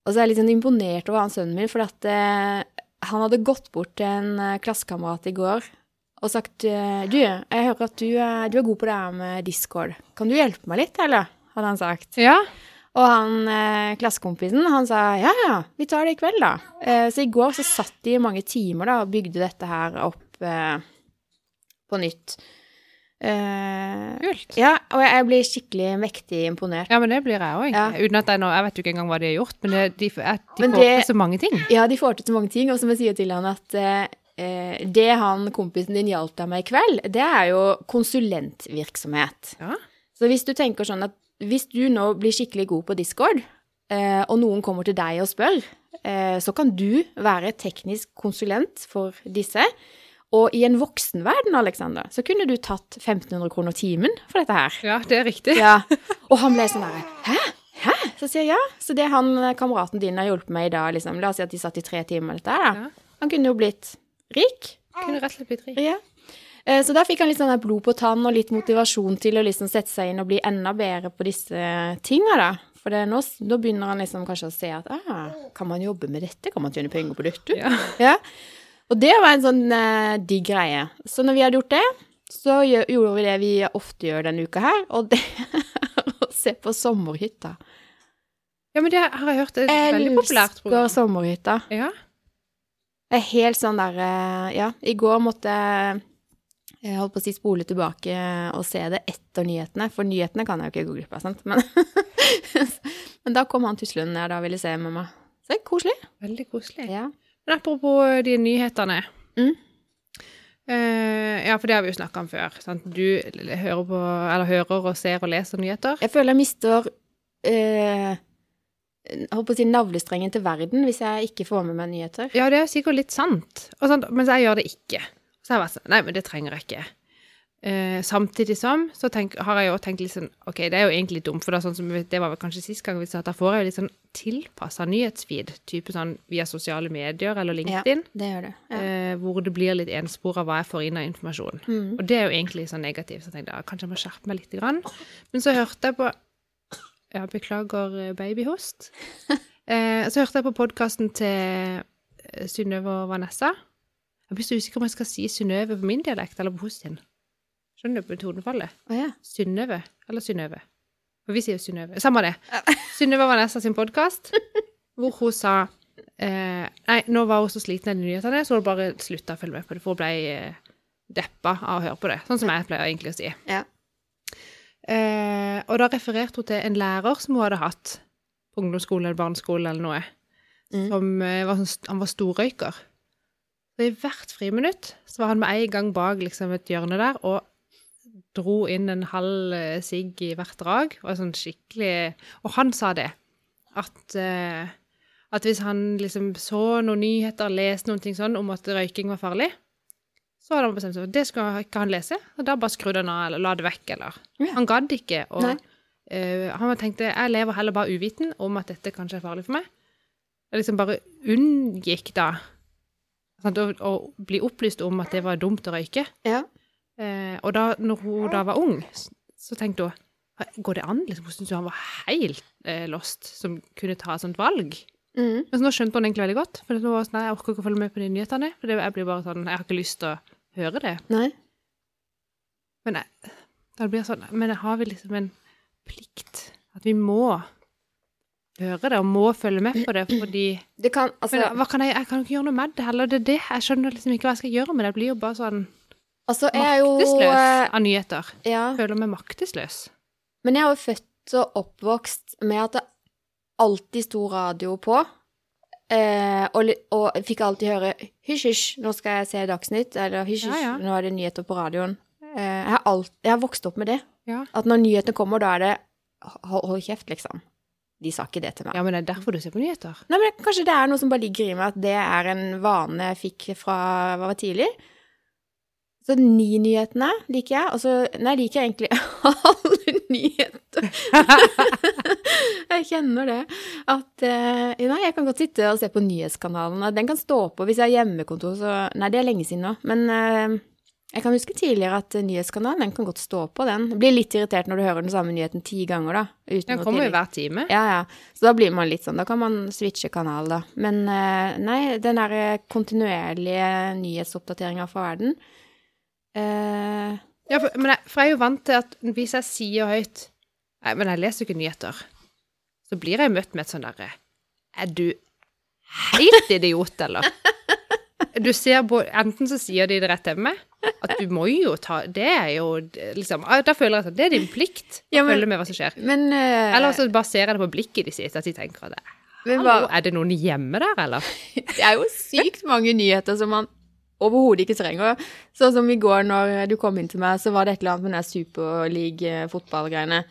B: Og så er jeg litt sånn imponert over han sønnen min, for at eh, han hadde gått bort til en eh, klassekamerat i går og sagt eh, Du, jeg hører at du, er- du er god på det her med Discord. Kan du hjelpe meg litt, eller? hadde han sagt.
A: Ja.
B: Og han eh, klassekompisen, han sa ja, ja, vi tar det i kveld, da. Eh, så i går så satt de i mange timer da og bygde dette her opp eh, på nytt. Eh,
A: Kult.
B: ja, og jeg- jeg blir skikkelig mektig imponert.
A: Ja, men det blir jeg òg, egentlig. Uten at jeg nå Jeg vet jo ikke engang hva de har gjort, men det, de, at de
B: Men
A: får
B: det-
A: til så mange ting.
B: Ja, de får til så mange ting. Og som jeg sier til han at eh, eh, det han kompisen din hjalp deg med i kveld, det er jo konsulentvirksomhet.
A: Ja.
B: Så hvis du tenker sånn at hvis du nå blir skikkelig god på Discord, eh, og noen kommer til deg og spør, eh, så kan du være teknisk konsulent for disse. Og i en voksenverden, Alexander, så kunne du tatt 1500 kroner timen for dette her.
A: Ja, det er riktig.
B: Ja. Og han ble sånn derre Hæ? Hæ? Så sier jeg ja. Så det han eh, kameraten din har hjulpet meg i dag, liksom La oss si at de satt i tre timer med dette her, da.
A: Ja.
B: Han kunne jo blitt rik.
A: Kunne rett og slett blitt rik.
B: Ja. Eh, Så da fikk han litt sånn der blod på tann og litt motivasjon til å liksom sette seg inn og bli enda bedre på disse tinga, da. For det, er nå, s- nå begynner han liksom kanskje å se at ah, kan man jobbe med dette? Kan man tjene penger på dette?
A: Ja.
B: Ja. Og det var en sånn eh, digg greie. Så når vi hadde gjort det, så gjø- gjorde vi det vi ofte gjør denne uka her, og det *laughs* er å se på sommerhytta.
A: ja, men det har jeg hørt. Det er et veldig populært
B: Elsker
A: program.
B: sommerhytta.
A: Ja.
B: Det er helt sånn der eh, Ja, i går måtte jeg jeg holdt på å si spole tilbake og se det etter nyhetene, for nyhetene kan jeg jo ikke gå glipp av, sant. Men, *laughs* men da kom han tuslende ned og da ville se med meg. Så det er koselig.
A: Veldig koselig.
B: Ja.
A: Men apropos eh, de nyhetene.
B: Mm.
A: Eh, ja, for det har vi jo snakka om før. Sant? Du l- hører, på, eller hører og ser og leser nyheter.
B: Jeg føler jeg mister eh, jeg holdt på å si navlestrengen til verden hvis jeg ikke får med meg nyheter.
A: Ja, det er sikkert litt sant, og sånt, men jeg gjør det ikke. Så har jeg vært sånn Nei, men det trenger jeg ikke. Eh, samtidig som så tenk, har jeg jo tenkt litt sånn OK, det er jo egentlig dumt, for det, er sånn som, vi- det var vel kanskje sist gang vi sa at da får jeg jo litt sånn tilpassa nyhetsfeed, type sånn via sosiale medier eller LinkedIn,
B: det gjør det. Ja.
A: eh, hvor det blir litt enspor av hva jeg får inn av informasjon.
B: Mm.
A: Og det er jo egentlig sånn negativt, så jeg tenkte ja, kanskje jeg må skjerpe meg litt. Grann. Men så hørte jeg på Ja, beklager eh, babyhost. Eh, så hørte jeg på podkasten til eh, Synnøve og Vanessa. Jeg blir så usikker om jeg skal si Synnøve på min dialekt eller på hos sin. Skjønner du på tonefallet?
B: Å ja.
A: Synnøve eller Synnøve? For vi sier jo Synnøve. Samme det. *laughs* Synnøve og Vanessa sin podkast, hvor hun sa eh, Nei, nå var hun så sliten av de nyhetene, så hun bare slutta å følge med på det, for hun ble eh, deppa av å høre på det. Sånn som jeg pleier egentlig å si.
B: Ja.
A: Eh, og da refererte hun til en lærer som hun hadde hatt på ungdomsskolen eller barneskolen eller noe,
B: Mm.
A: som eh, var, sånn st- han var storrøyker. Så i hvert friminutt så var han med en gang bak liksom, et hjørne der og dro inn en halv eh, sigg i hvert drag. Og, sånn skikkelig, og han sa det, at, eh, at hvis han liksom så noen nyheter, leste noen ting sånn om at røyking var farlig, så hadde han bestemt seg for at det skulle ikke han lese. Og da bare skrudde han av eller la det vekk. eller.
B: Ja.
A: Han gadd ikke. og
B: Nei.
A: eh, Han tenkte jeg lever heller bare uviten om at dette kanskje er farlig for meg. Jeg liksom bare unngikk da sant, å, å bli opplyst om at det var dumt å røyke.
B: ja.
A: Eh, og da når hun da var ung, s- så tenkte hun "Hæ, Går det an? Liksom, hun syntes jo han var helt eh, lost som kunne ta et sånt valg.
B: Mm.
A: Men så nå skjønte hun egentlig veldig godt. For nå var hun sånn, nei, jeg orker ikke å følge med på de nyhetene. For det, jeg blir bare sånn, jeg har ikke lyst til å høre det.
B: Nei.
A: Men jeg, da blir jeg sånn, men jeg har vel liksom en plikt. At vi må høre det, og må følge med på det,
B: *clears throat*
A: fordi
B: Det kan altså,
A: men, hva kan jeg, jeg kan jo ikke gjøre noe med det heller. Det er det. Jeg skjønner liksom ikke hva jeg skal gjøre med det. Jeg blir jo bare sånn
B: altså jeg er jo
A: maktesløs
B: eh,
A: av nyheter.
B: ja.
A: Jeg føler meg maktesløs.
B: Men jeg er jo født og oppvokst med at det alltid sto radio på. Eh, og, li- og fikk alltid høre 'hysj, hysj, nå skal jeg se Dagsnytt', eller 'hysj, hysj,
A: Ja, ja.
B: nå er det nyheter på radioen'. Eh, jeg, har alt, jeg har vokst opp med det.
A: Ja.
B: At når nyhetene kommer, da er det ho- ho- 'hold kjeft', liksom. De sa ikke det til meg.
A: ja, men det er derfor du ser på nyheter.
B: Nei, men Kanskje det er noe som bare ligger i meg, at det er en vane jeg fikk fra jeg var tidlig. Så ni-nyhetene liker jeg. Og så Nei, liker jeg egentlig *laughs* alle nyheter. *laughs* Jeg kjenner det. At eh, Nei, jeg kan godt sitte og se på nyhetskanalen. Den kan stå på hvis jeg har hjemmekontor, så Nei, det er lenge siden nå. Men eh, jeg kan huske tidligere at eh, nyhetskanalen, den kan godt stå på, den. Det Blir litt irritert når du hører den samme nyheten ti ganger, da. Uten
A: Den
B: å
A: kommer jo
B: tillegge-
A: hver time.
B: Ja, ja. Så da blir man litt sånn Da kan man switche kanal, da. Men eh, nei, den derre kontinuerlige nyhetsoppdateringa fra verden eh,
A: Ja, for, men jeg, for jeg er jo vant til at hvis jeg sier høyt Nei, men jeg leser jo ikke nyheter. Så blir jeg møtt med et sånn derre Er du helt idiot, eller? *laughs* Du ser på, Enten så sier de det rett til meg, at du må jo ta Det er jo liksom ah, Da føler jeg at det er din plikt å
B: Ja, men-
A: følge med hva som skjer.
B: Men eh,
A: Eller så baserer jeg det på blikket de sier, at de tenker at det-
B: men
A: Hallo,
B: hva-
A: er det noen hjemme der, eller?
B: *laughs* Det er jo sykt mange nyheter som man overhodet ikke trenger. Sånn som i går når du kom inn til meg, så var det et eller annet med den der superleague-fotballgreiene.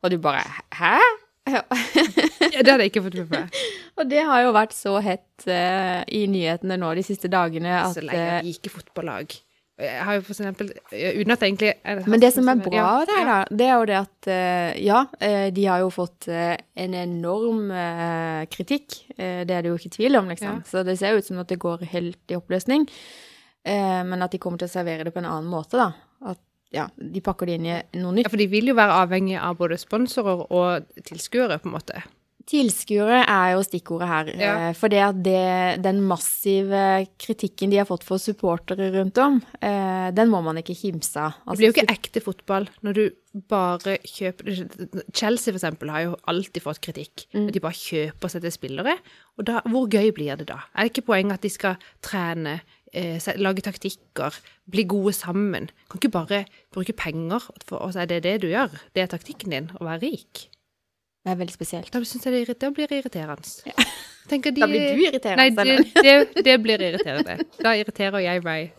B: Og du bare Hæ? *laughs*
A: Ja, Det hadde jeg ikke fått med meg.
B: Og det har jo vært så hett eh, i nyhetene nå de siste dagene at
A: Så lenge
B: eh,
A: jeg liker fotballag. Jeg har jo for eksempel Uten at jeg egentlig jeg har
B: Men det
A: hatt
B: som er
A: noe
B: bra
A: ja,
B: der, da, det er jo det at eh, ja, eh, de har jo fått eh, en enorm eh, kritikk. Eh, Det er det jo ikke tvil om,
A: Ja.
B: liksom. Så det ser jo ut som at det går helt i oppløsning. Eh, Men at de kommer til å servere det på en annen måte, da. At ja, de pakker det inn i
A: Ja,
B: noe nytt.
A: for de vil jo være avhengig av både sponsorer og tilskuere, på en måte.
B: Tilskuere er jo stikkordet her. eh,
A: Ja.
B: For det at det, den massive kritikken de har fått for supportere rundt om, eh, den må man ikke kimse av.
A: Det
B: Altså,
A: blir jo ikke ekte fotball når du bare kjøper Chelsea, for eksempel, har jo alltid fått kritikk.
B: Mm.
A: At de bare kjøper seg til spillere. Og da, hvor gøy blir det da? Er det ikke poenget at de skal trene, eh, se- lage taktikker, bli gode sammen? Kan ikke bare bruke penger, for, og så er det det du gjør? Det er taktikken din, å være rik?
B: det er veldig spesielt.
A: Da syns jeg det, irriter- da blir det irriterende. Tenker de-
B: Da blir du irriterende,
A: Nei,
B: Ellen.
A: det, det, det blir irriterende. Da irriterer jeg meg.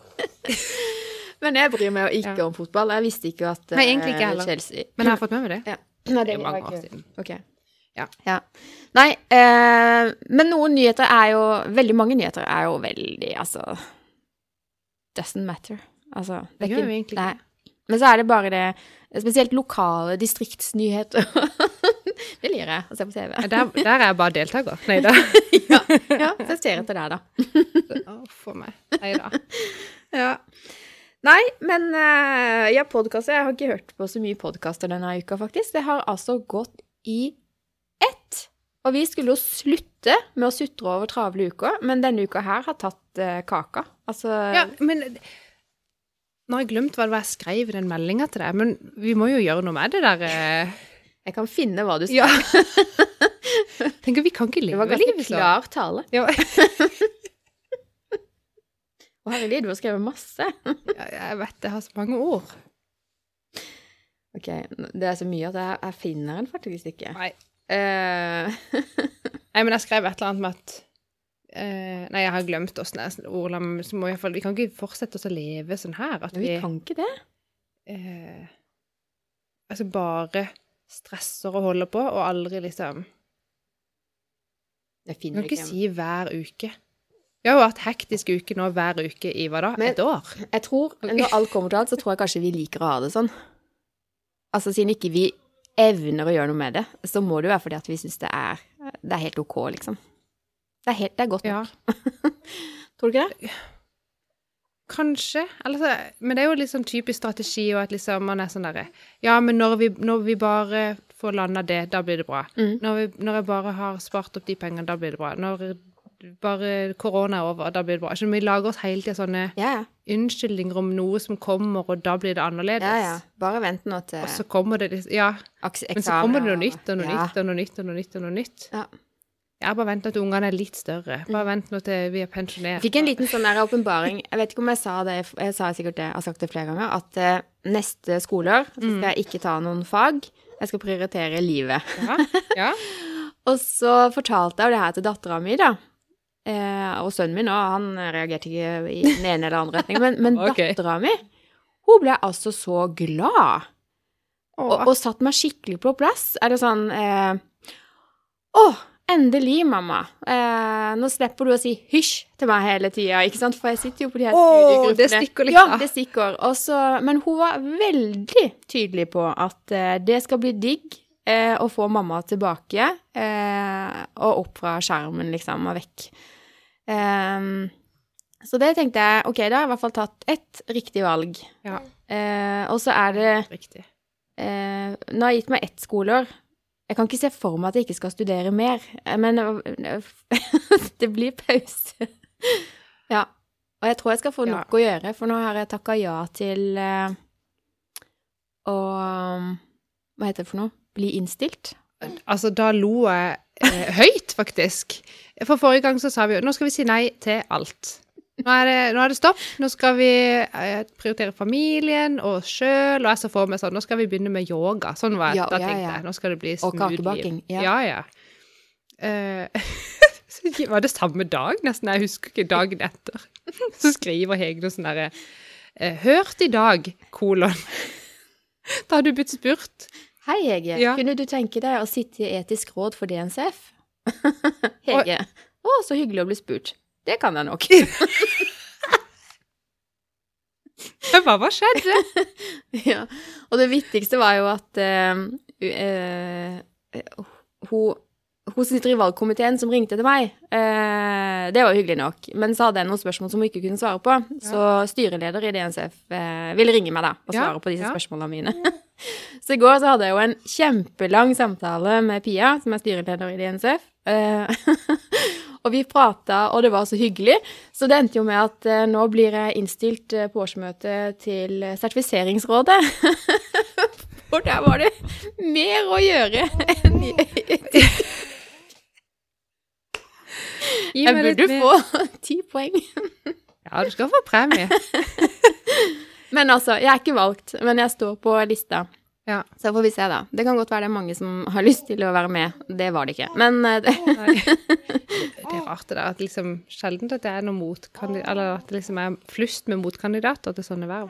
B: Men jeg bryr meg jo ikke om fotball. Jeg visste ikke at eh,
A: Nei, egentlig ikke heller.
B: Chelsea
A: Men jeg har fått med meg det.
B: ja. Nei,
A: Det er
B: var
A: mange
B: ikke-
A: år siden.
B: Ok.
A: Ja.
B: Nei, eh, men noen nyheter er jo Veldig mange nyheter er jo veldig Altså Doesn't matter. Altså,
A: Det gjør jo egentlig
B: Nei.
A: ikke
B: Men så er det bare det Spesielt lokale distriktsnyheter. *laughs* det liker jeg å se på
A: *laughs*
B: TV.
A: Nei, Der, der er jeg bare deltaker. Nei da.
B: ja, ja, så jeg ser etter deg, da.
A: Å, For meg. Nei da.
B: Ja. Nei, men eh, ja, podkaster Jeg har ikke hørt på så mye podkaster denne uka, faktisk. Det har altså gått i ett. Og vi skulle jo slutte med å sutre over travle uker, men denne uka her har tatt eh, kaka. Altså
A: Ja, men nå har jeg glemt hva det var jeg skrev i den meldinga til deg, men vi må jo gjøre noe med det der. eh.
B: Jeg kan finne hva du sa.
A: Ja. *laughs* Tenker, vi kan ikke
B: det
A: leve
B: var ganske
A: livet sånn.
B: klar tale.
A: *laughs* Ja,
B: Å herregud, du har skrevet masse.
A: jeg vet jeg har så mange ord.
B: Ok, Det er så mye at jeg, jeg finner den faktisk ikke.
A: Nei.
B: Eh,
A: Nei, men jeg skrev et eller annet med at eh, Nei, jeg har glemt åssen jeg ordla meg, men så må jeg iallfall Vi kan ikke fortsette oss å leve sånn her. At
B: vi
A: vi
B: kan ikke det.
A: eh, Altså bare stresser og holder på, og aldri liksom Vi
B: Jeg finner
A: kan
B: det
A: ikke
B: ikke.
A: si hver uke. Vi har jo hatt hektisk uke nå hver uke i hva da?
B: Men-
A: Et år?
B: Jeg tror,
A: Ok.
B: når alt kommer til alt, så tror jeg kanskje vi liker å ha det sånn. Altså, siden ikke vi evner å gjøre noe med det, så må det jo være fordi at vi syns det er Det er helt ok, liksom. Det er, helt, det er godt
A: Ja.
B: nok. Tror du ikke det?
A: Kanskje. Eller så, men det er jo litt sånn typisk strategi og at liksom man er sånn derre Ja, men når vi, når vi bare får landa det, da blir det bra.
B: Mm.
A: Når, vi, når jeg bare har spart opp de pengene, da blir det bra. Når bare korona er over, da blir det bra. Ikke, vi lager oss hele tida sånne
B: Ja, ja.
A: unnskyldninger om noe som kommer, og da blir det annerledes.
B: ja, ja. Bare vent nå til
A: Og så kommer det liksom Ja.
B: akse- eksamen.
A: Men så kommer det noe
B: og-
A: nytt og noe
B: ja.
A: nytt og noe nytt og noe nytt. og noe nytt.
B: Ja.
A: Jeg bare venter til ungene er litt større.
B: Mm.
A: Bare vent nå til vi er pensjonert.
B: Jeg fikk en liten sånn der åpenbaring. Jeg vet ikke om jeg sa det, jeg sa sikkert det, jeg har sagt det flere ganger, at eh, neste skoleår så
A: Mm.
B: skal jeg ikke ta noen fag. Jeg skal prioritere livet.
A: Ja, ja.
B: Og så fortalte jeg jo det her til dattera mi, da. Eh, og sønnen min òg, han reagerte ikke i den ene eller andre retningen. Men, men
A: Ok.
B: dattera mi, hun ble altså så glad. *laughs* Og, og satt meg skikkelig på plass. Er det sånn eh, Å, endelig, mamma. Eh, nå slipper du å si hysj til meg hele tida, ikke sant? For jeg sitter jo på de her
A: Å,
B: studiegruppene.
A: det stikker litt,
B: ja.
A: da.
B: Det stikker. Og så- men hun var veldig tydelig på at eh, det skal bli digg eh, å få mamma tilbake eh, og opp fra skjermen, liksom, og vekk. Eh, så det tenkte jeg, OK, da har jeg i hvert fall tatt ett riktig valg.
A: Ja.
B: Eh, og så er det
A: Riktig.
B: Eh, nå har jeg gitt meg ett skoleår. Jeg kan ikke se for meg at jeg ikke skal studere mer, eh, men eh, *laughs* det blir pause. ja. Og jeg tror jeg skal få
A: Ja.
B: nok å gjøre, for nå har jeg takka ja til eh, å Hva heter det for noe? Bli innstilt?
A: Altså, da lo jeg eh, høyt, faktisk. For forrige gang så sa vi jo nå skal vi si nei til alt. Nå er det, nå er det stopp. Nå skal vi eh, prioritere familien og oss sjøl. Og jeg så for meg sånn Nå skal vi begynne med yoga. Sånn var jeg.
B: Ja,
A: da
B: ja,
A: tenkte
B: ja.
A: jeg. Nå skal det bli
B: Og
A: smooth liv.
B: kakebaking, ja.
A: ja. ja. Eh, *laughs* så var det samme dag, nesten. Jeg husker ikke dagen etter. *laughs* Så skriver Hege noe sånn derre eh, Hørt i dag, kolon. *laughs* Da har du blitt spurt.
B: Hei, Hege.
A: Ja.
B: Kunne du tenke deg å sitte i etisk råd for *laughs* DNCF? Hege. Å, så hyggelig å bli spurt. Det kan jeg nok.
A: Jeg bare, Hva skjedde?
B: *laughs* Ja, og det viktigste var jo at eh, u- eh, hun, hun sitter i valgkomiteen som ringte til meg. Eh, det var jo hyggelig nok. Men så hadde jeg noen spørsmål som hun ikke kunne svare på. Så styreleder i DNCF eh, ville ringe meg da, og
A: Ja,
B: svare på disse
A: ja.
B: spørsmålene mine. *laughs* så i går så hadde jeg jo en kjempelang samtale med Pia, som er styreleder i DNCF. Eh, *laughs* og vi prata, og det var så hyggelig. Så det endte jo med at eh, nå blir jeg innstilt eh, på årsmøtet til eh, Sertifiseringsrådet. For der var det mer å gjøre enn i
A: Gi
B: Jeg
A: meg litt
B: burde
A: mer.
B: få *laughs* ti poeng.
A: Ja, du skal få premie.
B: Men altså, jeg er ikke valgt, men jeg står på lista.
A: Ja.
B: Så får vi se, da. Det kan godt være det er mange som har lyst til å være med. Det var det ikke. Men eh, det, *laughs*
A: Nei. *laughs* Det er rart det der, at liksom sjelden at det er noe motkandidat, eller at det liksom er flust med motkandidater til sånne verv.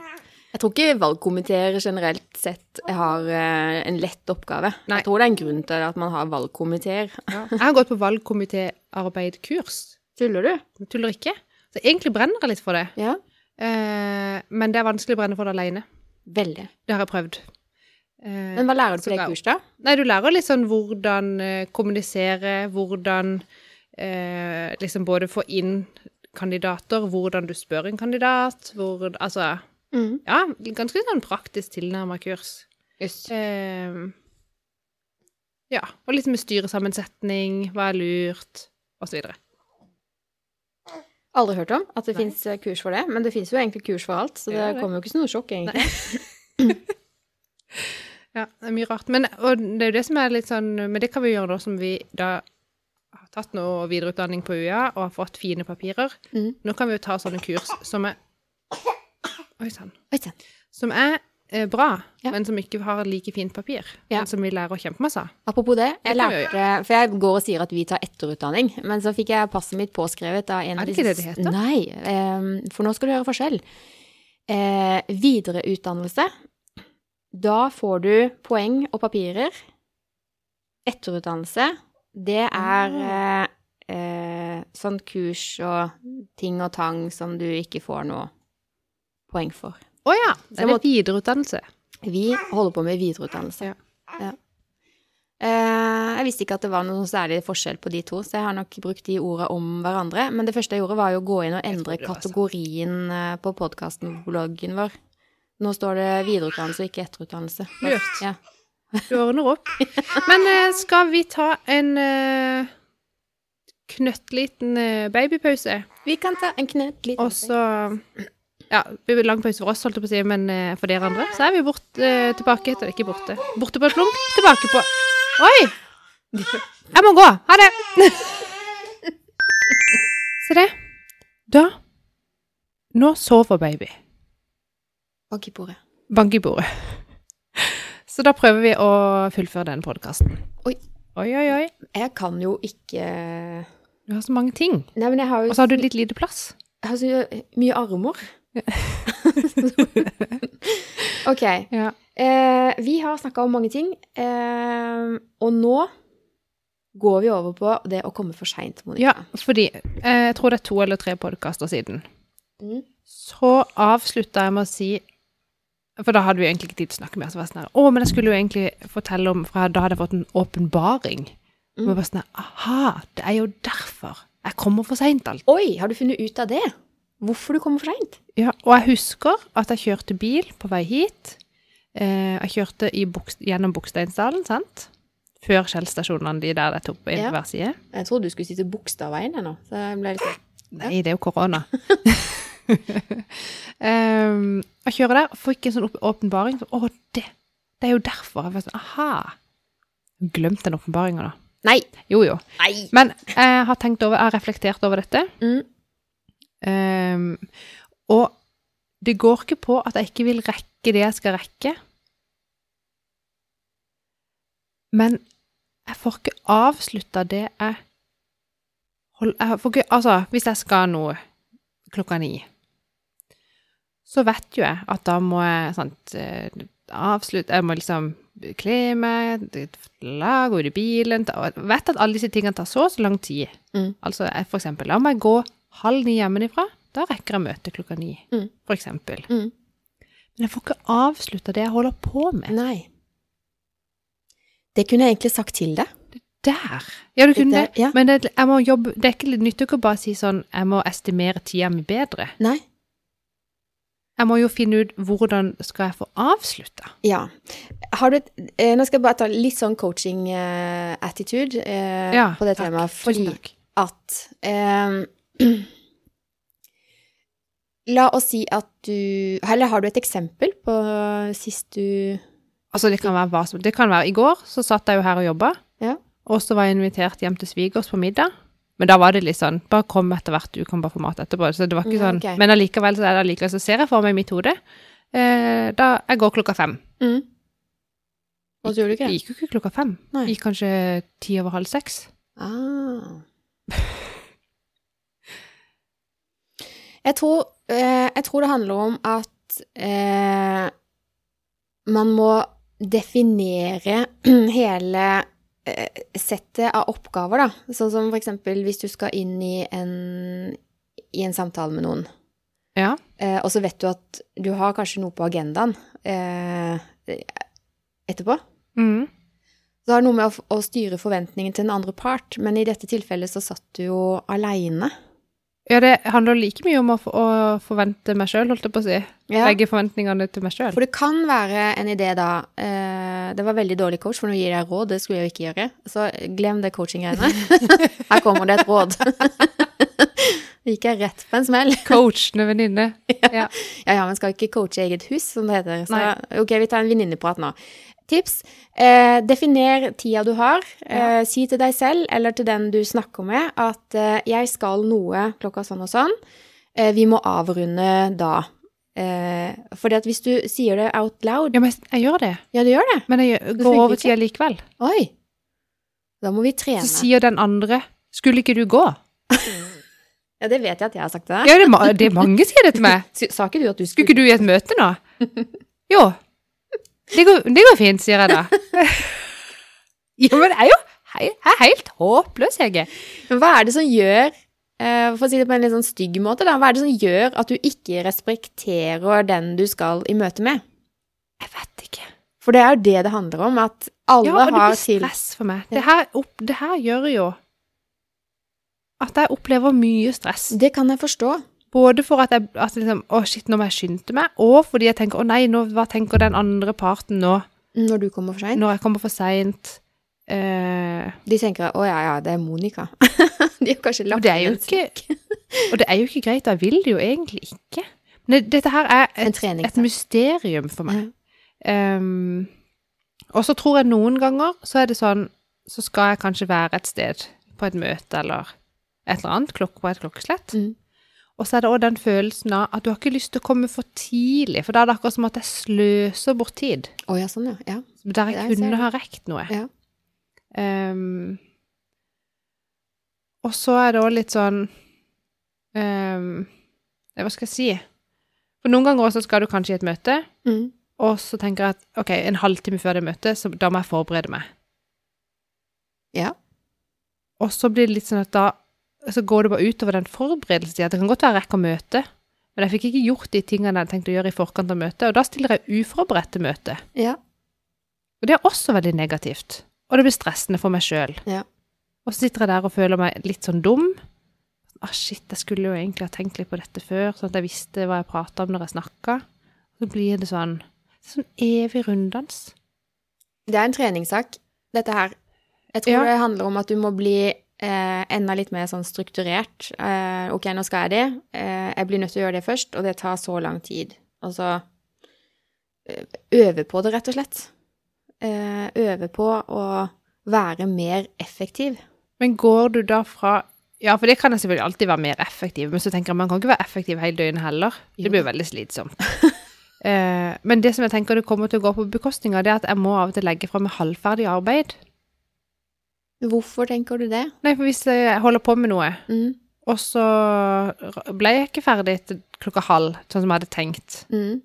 B: jeg tror ikke valgkomiteer generelt sett har eh, en lett oppgave.
A: Nei.
B: Jeg tror det er en grunn til at man har valgkomiteer.
A: Jeg har gått på valgkomitéarbeidkurs.
B: Tuller du?
A: Jeg Tuller ikke. Så egentlig brenner jeg litt for det.
B: Ja.
A: Eh, men det er vanskelig å brenne for det alene.
B: Veldig.
A: Det har jeg prøvd. Eh,
B: Men hva lærer du på
A: Så
B: det
A: ga-
B: kurset, da?
A: Nei, du lærer litt sånn hvordan eh, kommunisere, hvordan eh, liksom både få inn kandidater, hvordan du spør en kandidat, hvor Altså
B: Mm.
A: ja, ganske sånn praktisk tilnærma kurs. Eh, ja, og litt med styresammensetning, hva er lurt, osv.
B: Aldri hørt om at det
A: Nei.
B: fins kurs for det, men det fins jo egentlig kurs for alt, så det,
A: Ja, det.
B: kommer jo ikke som noe sjokk, egentlig.
A: Ja, det er mye rart. Men og det er jo det som er litt sånn Men det kan vi gjøre nå som vi da har tatt noe videreutdanning på UiA og har fått fine papirer.
B: Mm.
A: Nå kan vi jo ta sånne kurs som er Oi sann.
B: Oi sann.
A: Som er eh, bra,
B: Ja.
A: men som ikke har like fint papir.
B: Ja.
A: Men som vi lærer kjempemasse av.
B: Apropos det, jeg
A: Det kan vi jo
B: lærte For jeg går og sier at vi tar etterutdanning, men så fikk jeg passet mitt påskrevet av en
A: Er
B: av
A: det
B: disse
A: ikke det det heter?
B: Nei, eh, for nå skal du høre forskjell. Eh, videreutdannelse. Da får du poeng og papirer. Etterutdannelse, det er
A: Ah.
B: eh, eh, sånn kurs og ting og tang som du ikke får noe poeng for.
A: Å ja!
B: Så
A: Det
B: jeg
A: er
B: må-
A: videreutdannelse.
B: Vi holder på med videreutdannelse.
A: Ja.
B: Ja. Eh, jeg visste ikke at det var noen særlig forskjell på de to, så jeg har nok brukt de orda om hverandre. Men det første jeg gjorde, var jo å gå inn og endre
A: trodde det var sant.
B: kategorien eh, på podkasten-bloggen vår. Nå står det videreutdannelse og ikke etterutdannelse.
A: Lurt.
B: Ja.
A: Du ordner opp. Men eh, skal vi ta en eh, knøttliten eh, babypause?
B: Vi kan ta en knert litt.
A: Og så Ja, det blir lang pause for oss, holdt jeg på å si, men eh, for dere andre så er vi bort, eh, tilbake etter Ikke borte. Borte på et plunk, tilbake på Oi! Jeg må gå. Ha det! *laughs* Se det. Da Nå sover baby.
B: Bak i bordet.
A: Bank i bordet. *laughs* Så da prøver vi å fullføre denne podkasten.
B: Oi.
A: Oi, oi, oi.
B: Jeg kan jo ikke
A: Du har så mange ting.
B: Nei, men jeg har jo
A: Og så har du litt lite plass.
B: Altså, jeg har så mye armer. *laughs* OK.
A: Ja.
B: Eh, vi har snakka om mange ting, eh, og nå går vi over på det å komme for seint,
A: Ja,
B: Monica.
A: fordi eh, jeg tror det er to eller tre podkaster siden.
B: Mm.
A: Så avslutta jeg med å si For da hadde vi egentlig ikke tid til å snakke mer. Så var jeg sånn her, å, men jeg skulle jo egentlig fortelle om for jeg- Da hadde jeg fått en åpenbaring. Og jeg bare sånn her, Aha, det er jo derfor jeg kommer for seint alltid.
B: Oi, har du funnet ut av det? Hvorfor du kommer for seint?
A: Ja, og jeg husker at jeg kjørte bil på vei hit. Eh, jeg kjørte i Bogst- gjennom Bogsteinsdalen, sant? Før Skjell-stasjonene, de der det er topp inn
B: Ja.
A: på hver side.
B: Jeg trodde du skulle si til Bogstadveien ennå. Så jeg ble litt sånn,
A: Nei, det er jo korona. *laughs* um, jeg kjører der og fikk en sånn opp- åpenbaring. Så, å, det, det er jo derfor. Jeg var sånn, aha. Glemte den åpenbaringa, da.
B: Nei!
A: Jo, jo.
B: Nei!
A: Men jeg har tenkt over, jeg har reflektert over dette.
B: Mm.
A: Um, og det går ikke på at jeg ikke vil rekke det jeg skal rekke. Men jeg får ikke avslutta det jeg hold, Jeg får ikke Altså, hvis jeg skal noe klokka ni, så vet jo jeg at da må jeg sant, eh, avslutte Jeg må liksom kle meg, la gå ut i bilen ta, og jeg Vet at alle disse tingene tar så og så lang tid.
B: Mm.
A: Altså, jeg, for eksempel, la meg gå halv ni hjemmefra. Da rekker jeg møtet klokka ni,
B: Mm.
A: for eksempel.
B: Mm.
A: Men jeg får ikke avslutta det jeg holder på med.
B: Nei. Det kunne jeg egentlig sagt til deg.
A: Der! Ja, du kunne
B: Det-
A: det.
B: ja.
A: Men det, jeg må jobbe, det er ikke det nytter ikke å bare si sånn Jeg må estimere tida mi bedre.
B: Nei.
A: Jeg må jo finne ut hvordan skal jeg få avslutta.
B: Ja. Har du et, eh, nå skal jeg bare ta litt sånn coaching-attitude eh,
A: Ja,
B: på det
A: takk.
B: temaet.
A: Tusen
B: Fordi
A: takk.
B: at eh, *clears throat* La oss si at du Eller har du et eksempel på sist du
A: Altså, det kan være hva som Det kan være I går så satt jeg jo her og jobba,
B: Ja.
A: og så var jeg invitert hjem til svigers på middag. Men da var det litt sånn Bare kom etter hvert, du kan bare få mat etterpå. Så det var ikke
B: Ja,
A: sånn.
B: ok.
A: Men allikevel så er det allikevel så ser jeg for meg i mitt hode eh, Da jeg går klokka fem.
B: Og så gjorde du
A: Jeg
B: ikke det?
A: gikk jo ikke klokka fem.
B: Nei.
A: Jeg Gikk kanskje ti over halv seks.
B: Ah. Jeg tror, eh, jeg tror det handler om at eh, man må definere *clears throat* hele eh, settet av oppgaver, da. Sånn som for eksempel hvis du skal inn i en, i en samtale med noen.
A: Ja.
B: Eh, og så vet du at du har kanskje noe på agendaen eh, etterpå.
A: Mm.
B: Så det har noe med å, f- å styre forventningen til den andre part, men i dette tilfellet så satt du jo aleine.
A: Ja, det handler like mye om å, f- å forvente meg sjøl, holdt jeg på å si.
B: Ja.
A: Legge forventningene til meg sjøl.
B: For det kan være en idé da eh, Det var veldig dårlig coach, for nå gir jeg råd, det skulle jeg jo ikke gjøre. Så glem det coaching-greiene. *laughs* Her kommer det et råd. Det gikk jeg rett på en smell.
A: Coachende venninne. Ja.
B: *laughs* Ja, ja, men skal ikke coache eget hus, som det heter. Så
A: Nei.
B: ok, vi tar en venninneprat nå. Tips. Eh, definer tida du har. Eh, Si til deg selv eller til den du snakker med at eh, jeg skal noe klokka sånn og sånn. Eh, vi må avrunde da. Eh, fordi at hvis du sier det out loud
A: ja, men jeg gjør det.
B: Ja, du gjør det.
A: Men jeg gjør,
B: Du
A: går
B: fikk
A: over
B: ikke?
A: tida likevel.
B: Oi. Da må vi trene.
A: Så sier den andre 'Skulle ikke du gå?'
B: Ja, det vet jeg at jeg har sagt til deg.
A: Ja, det er, ma det er mange sier det til
B: *laughs*
A: meg.
B: S- Sa ikke du at du
A: 'Skulle ikke
B: skulle
A: du i et møte nå?' Jo. Det går, det går fint, sier jeg
B: *laughs*
A: da. Ja, men jeg er jo hei, jeg er helt håpløs, jeg er.
B: Men hva er det som gjør eh, for å si det på en litt sånn stygg måte, da. Hva er det som gjør at du ikke respekterer den du skal i møte med?
A: Jeg vet ikke.
B: For det er jo det det handler om, at alle
A: Ja, og det
B: har
A: blir
B: til
A: stress for meg. Det her, opp, det her gjør jo at jeg opplever mye stress.
B: Det kan jeg forstå.
A: Både for at jeg at liksom, å shit, nå må jeg skynde meg, og fordi jeg tenker å nei, nå, hva tenker den andre parten nå?
B: Når du kommer for seint?
A: Når jeg kommer for seint eh,
B: De tenker 'Å ja, ja, det er Monica'. *laughs* De har kanskje
A: Og
B: lagt
A: det er jo
B: inn en-
A: ikke Og det er jo ikke greit. Jeg vil det jo egentlig ikke. Men det, dette her er
B: en
A: et,
B: trening.
A: et mysterium for
B: Mm.
A: meg. Ehm, og så tror jeg noen ganger så er det sånn Så skal jeg kanskje være et sted på et møte eller et eller annet, klokk på et klokkeslett.
B: Mm.
A: Og så er det òg den følelsen av at du har ikke lyst til å komme for tidlig, for da er det akkurat som at jeg sløser bort tid.
B: Å ja, sånn, ja. ja.
A: Der jeg
B: Der ser du.
A: kunne ha rekt noe.
B: Ja.
A: Ehm, og så er det òg litt sånn ehm, eh, Hva skal jeg si? For noen ganger også skal du kanskje i et møte,
B: Mm.
A: og så tenker jeg at ok, en halvtime før det møtet, så da må jeg forberede meg.
B: Ja.
A: Og så blir det litt sånn at da så går det bare utover den forberedelsen. Det kan godt være jeg rekker møte, men jeg fikk ikke gjort de tingene jeg hadde tenkt å gjøre i forkant av møtet, og da stiller jeg uforberedt til møtet.
B: Ja.
A: Og det er også veldig negativt. Og det blir stressende for meg sjøl.
B: Ja.
A: Og så sitter jeg der og føler meg litt sånn dum. Ah, shit, jeg skulle jo egentlig ha tenkt litt på dette før, sånn at jeg visste hva jeg prata om når jeg snakka. Så blir det sånn Sånn evig runddans.
B: Det er en treningssak, dette her. Jeg tror
A: Ja.
B: det handler om at du må bli eh, enda litt mer sånn strukturert. Eh, ok, nå skal jeg det. Eh, jeg blir nødt til å gjøre det først, og det tar så lang tid. Altså eh, øve på det, rett og slett. Eh, øve på å være mer effektiv.
A: Men går du da fra Ja, for det kan jeg selvfølgelig alltid være mer effektiv, men så tenker jeg man kan ikke være effektiv hele døgnet heller. Det
B: Jo.
A: blir jo veldig slitsomt. *laughs* Eh, men det som jeg tenker det kommer til å gå på bekostning av, det er at jeg må av og til legge fra meg halvferdig arbeid.
B: Hvorfor tenker du det?
A: Nei, for hvis jeg holder på med noe,
B: Mm,
A: og så ble jeg ikke ferdig til klokka halv, sånn som jeg hadde tenkt
B: mm.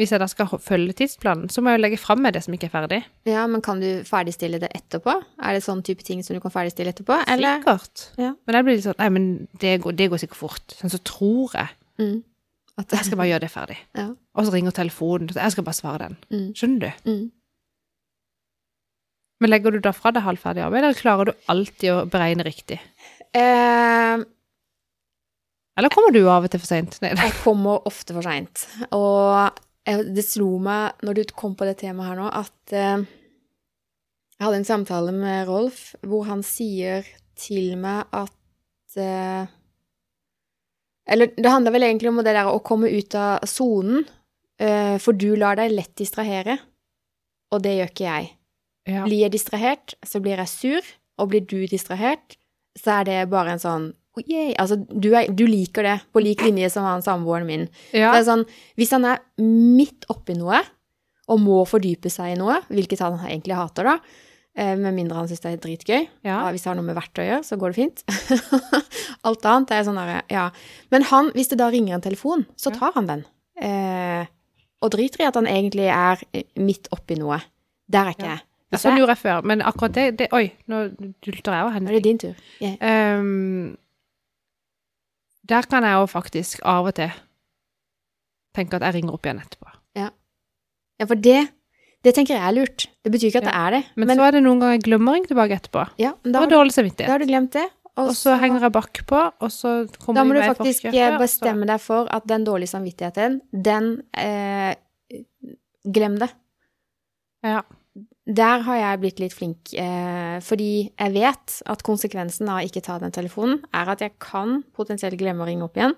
A: Hvis jeg da skal ho- følge tidsplanen, så må jeg jo legge fra meg det som ikke er ferdig.
B: Ja, men kan du ferdigstille det etterpå? Er det sånn type ting som du kan ferdigstille etterpå? Eller?
A: Sikkert.
B: Ja.
A: Men jeg blir litt sånn Nei, men det går, det går sikkert fort. Sånn så tror jeg.
B: Mm. At,
A: Jeg skal bare gjøre det ferdig.
B: Ja.
A: Og så ringer telefonen, så jeg skal bare svare den.
B: *laughs* Mm.
A: Skjønner du?
B: mm.
A: Men legger du da fra deg halvferdig arbeid, eller klarer du alltid å beregne riktig?
B: Eh,
A: Eller kommer du av og til for seint? Nei, nei.
B: Jeg kommer ofte for seint. Og jeg- det slo meg når du kom på det temaet her nå, at eh, jeg hadde en samtale med Rolf hvor han sier til meg at eh, Eller det handler vel egentlig om det der å komme ut av sonen, eh, for du lar deg lett distrahere. Og det gjør ikke jeg.
A: Ja.
B: Blir jeg distrahert, så blir jeg sur, og blir du distrahert, så er det bare en sånn oh, yay. Altså, du, er, du liker det, på lik linje som han samboeren min.
A: ja.
B: Det er sånn, hvis han er midt oppi noe, og må fordype seg i noe, hvilket han egentlig hater, da, eh, med mindre han syns det er dritgøy,
A: ja.
B: ja, hvis det har noe med verktøy å gjøre, så går det fint. *laughs* Alt annet er sånn derre Ja. Men han, hvis det da ringer en telefon, så
A: Ja.
B: tar han den. Eh, og driter i at han egentlig er eh, midt oppi noe. Der er ikke
A: Ja.
B: jeg.
A: Ja,
B: Hvis
A: Sånn
B: jeg
A: gjorde jeg før, men akkurat det, det Oi, nå dulter jeg og
B: nå
A: henne.
B: er det din tur.
A: Ehm, der kan jeg jo faktisk av og til tenke at jeg ringer opp igjen etterpå.
B: Ja, for det, det tenker jeg er lurt. Det betyr ikke at
A: Ja.
B: det er det.
A: Men, så er det noen ganger jeg glemmer å ringe tilbake etterpå.
B: ja,
A: Da
B: men da,
A: har
B: har du,
A: dårlig
B: da
A: samvittighet.
B: har du glemt det.
A: Og så henger jeg bakpå, og så kommer
B: Da må
A: de meg
B: du
A: i
B: faktisk
A: forkjøpet,
B: eh,
A: og så-
B: bestemme deg for at den dårlige samvittigheten, den eh, Glem det.
A: Ja.
B: Der har jeg blitt litt flink, eh, fordi jeg vet at konsekvensen av å ikke ta den telefonen, er at jeg kan potensielt glemme å ringe opp igjen.